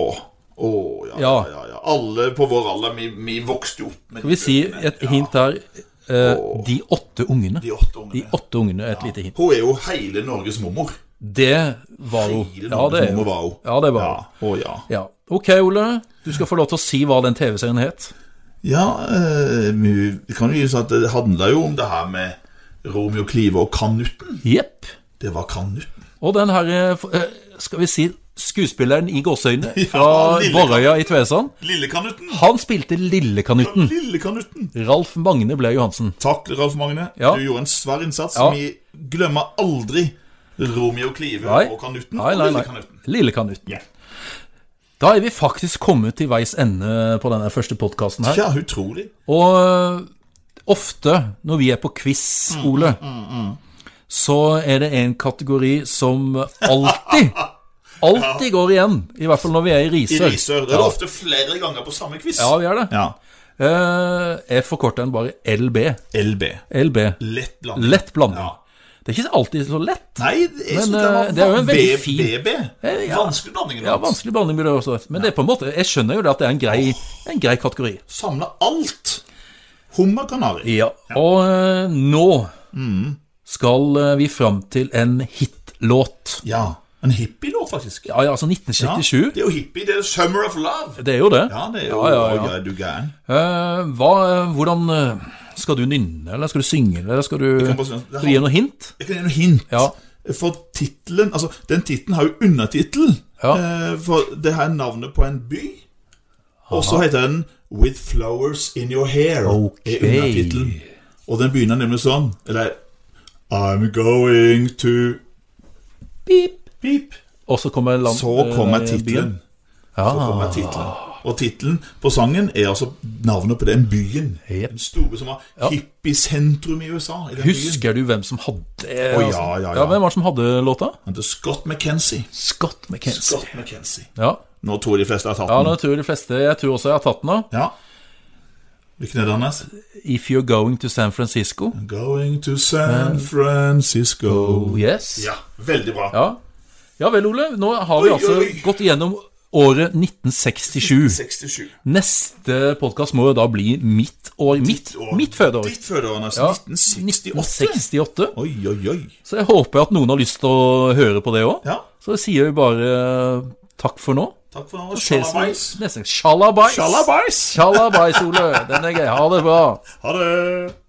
Speaker 2: å ja, ja.
Speaker 1: Ja.
Speaker 2: ja, ja. Alle på vår alder, vi, vi vokste jo opp med
Speaker 1: Skal vi si et hint her? eh, de åtte ungene.
Speaker 2: De åtte
Speaker 1: De
Speaker 2: ungene.
Speaker 1: åtte ungene er et lite hint.
Speaker 2: Hun er jo hele Norges mormor.
Speaker 1: Det var jo
Speaker 2: Hele
Speaker 1: Ja, det
Speaker 2: Norges
Speaker 1: er
Speaker 2: mormor
Speaker 1: jo
Speaker 2: var hun.
Speaker 1: Ja, det var
Speaker 2: Ja.
Speaker 1: jo
Speaker 2: Å ja.
Speaker 1: ja. Ok, Ole. Du skal få lov til å si hva den TV-serien het.
Speaker 2: Ja, eh, vi- vi kan jo si at det handla jo om det her med Romeo Klive og Kanutten.
Speaker 1: Jepp.
Speaker 2: Det var Kanutten.
Speaker 1: Og den her eh, f- eh, Skal vi si skuespilleren i gåseøynene
Speaker 2: <laughs> Ja,
Speaker 1: fra
Speaker 2: lille-
Speaker 1: Borøya i Tvesand.
Speaker 2: Lille Kanutten.
Speaker 1: Han spilte Lillekanutten.
Speaker 2: Lille Kanutten.
Speaker 1: Ralf Magne Blaug Johansen.
Speaker 2: Takk, Ralf Magne.
Speaker 1: Ja.
Speaker 2: Du gjorde en svær innsats.
Speaker 1: Ja.
Speaker 2: Vi glemmer aldri Romeo Klive
Speaker 1: Nei.
Speaker 2: og Kanutten.
Speaker 1: Nei, nei,
Speaker 2: Og Lille
Speaker 1: nei.
Speaker 2: Kanutten.
Speaker 1: Lillekanutten.
Speaker 2: Ja.
Speaker 1: Da er vi faktisk kommet til veis ende på denne første podkasten her.
Speaker 2: ja, utrolig.
Speaker 1: Og øh, ofte når vi er på quiz,
Speaker 2: Mm,
Speaker 1: Ole, så er det en kategori som
Speaker 2: <laughs>
Speaker 1: alltid Alltid går igjen, i hvert fall når vi er i
Speaker 2: I
Speaker 1: Risør.
Speaker 2: Risør. Det er
Speaker 1: ja.
Speaker 2: ofte flere ganger på samme quiz.
Speaker 1: ja, vi er det.
Speaker 2: Ja.
Speaker 1: Eh, jeg forkorter den bare LB.
Speaker 2: LB.
Speaker 1: LB.
Speaker 2: Lett blanding.
Speaker 1: Lett blanding.
Speaker 2: Ja.
Speaker 1: Det er ikke alltid så lett.
Speaker 2: Nei, jeg
Speaker 1: Men,
Speaker 2: synes det
Speaker 1: eh,
Speaker 2: var
Speaker 1: det er jo en veldig fin-
Speaker 2: BB.
Speaker 1: ja.
Speaker 2: Vanskelig blanding.
Speaker 1: Ja,
Speaker 2: Ja,
Speaker 1: vanskelig blanding blir det også. Men det er på en måte, jeg skjønner jo det at det er en grei, en grei kategori.
Speaker 2: Samle alt. Hummer kanari.
Speaker 1: Ja, og eh, nå
Speaker 2: Mm.
Speaker 1: skal eh, vi fram til en hitlåt.
Speaker 2: Ja. En hippielåt, faktisk.
Speaker 1: Ja, ja, altså
Speaker 2: Ja,
Speaker 1: 1967.
Speaker 2: Det er jo hippie. Det er Summer of Love.
Speaker 1: Det er jo det.
Speaker 2: Ja, det er jo
Speaker 1: Ja, ja, ja.
Speaker 2: Å, du gæren.
Speaker 1: Eh, hva, eh, hvordan eh, Skal du nynne, eller skal du synge, eller skal du,
Speaker 2: kan bare synge.
Speaker 1: skal du gi noe hint?
Speaker 2: Jeg kan gi noen hint.
Speaker 1: Ja.
Speaker 2: For titlen, altså, Den tittelen har jo undertittel.
Speaker 1: Ja.
Speaker 2: Eh, for det her er navnet på en by. Og så heter den 'With Flowers In Your Hair'.
Speaker 1: Ok.
Speaker 2: Er undertittelen. Og den begynner nemlig sånn. Eller I'm going to
Speaker 1: Pip.
Speaker 2: Pip.
Speaker 1: Og så kommer land,
Speaker 2: Så kommer
Speaker 1: eh, byen. Ah.
Speaker 2: tittelen. Så
Speaker 1: Ja.
Speaker 2: kommer tittelen. Og tittelen på sangen er altså navnet på den byen.
Speaker 1: Jep.
Speaker 2: Den store som var hippiesentrum i USA. I den byen.
Speaker 1: Husker du hvem som hadde eh,
Speaker 2: Å, ja,
Speaker 1: altså-
Speaker 2: ja, ja.
Speaker 1: Hvem var det som hadde låta?
Speaker 2: Han heter Scott McKenzie.
Speaker 1: Scott McKenzie.
Speaker 2: Scott McKenzie.
Speaker 1: Ja.
Speaker 2: Nå tror jeg de fleste har tatt
Speaker 1: ja,
Speaker 2: den.
Speaker 1: nå tror jeg de fleste Jeg tror også jeg har tatt den av.
Speaker 2: Ja. Hvilken er det, Anders?
Speaker 1: If you're going to San Francisco.
Speaker 2: Going to San Francisco.
Speaker 1: Oh, yes.
Speaker 2: Mm. Ja, veldig bra.
Speaker 1: Ja. ja vel, Ole. Nå har vi
Speaker 2: Oi,
Speaker 1: altså
Speaker 2: oi.
Speaker 1: gått igjennom året 1967.
Speaker 2: 67.
Speaker 1: Neste podkast må jo da bli mitt år. Mitt,
Speaker 2: år.
Speaker 1: mitt fødeår.
Speaker 2: Ditt fødeår, Anders.
Speaker 1: Ja.
Speaker 2: 1968.
Speaker 1: 1968.
Speaker 2: Oi, oi, oi.
Speaker 1: Så jeg håper at noen har lyst til å høre på det òg.
Speaker 2: Ja,
Speaker 1: Så sier vi bare eh, takk for nå.
Speaker 2: takk for nå.
Speaker 1: Ses vi
Speaker 2: Shalabais.
Speaker 1: neste gang. Sjalabais!
Speaker 2: Shalabais!
Speaker 1: Sjalabais, Ole. Den er gøy. Ha det bra.
Speaker 2: Ha det!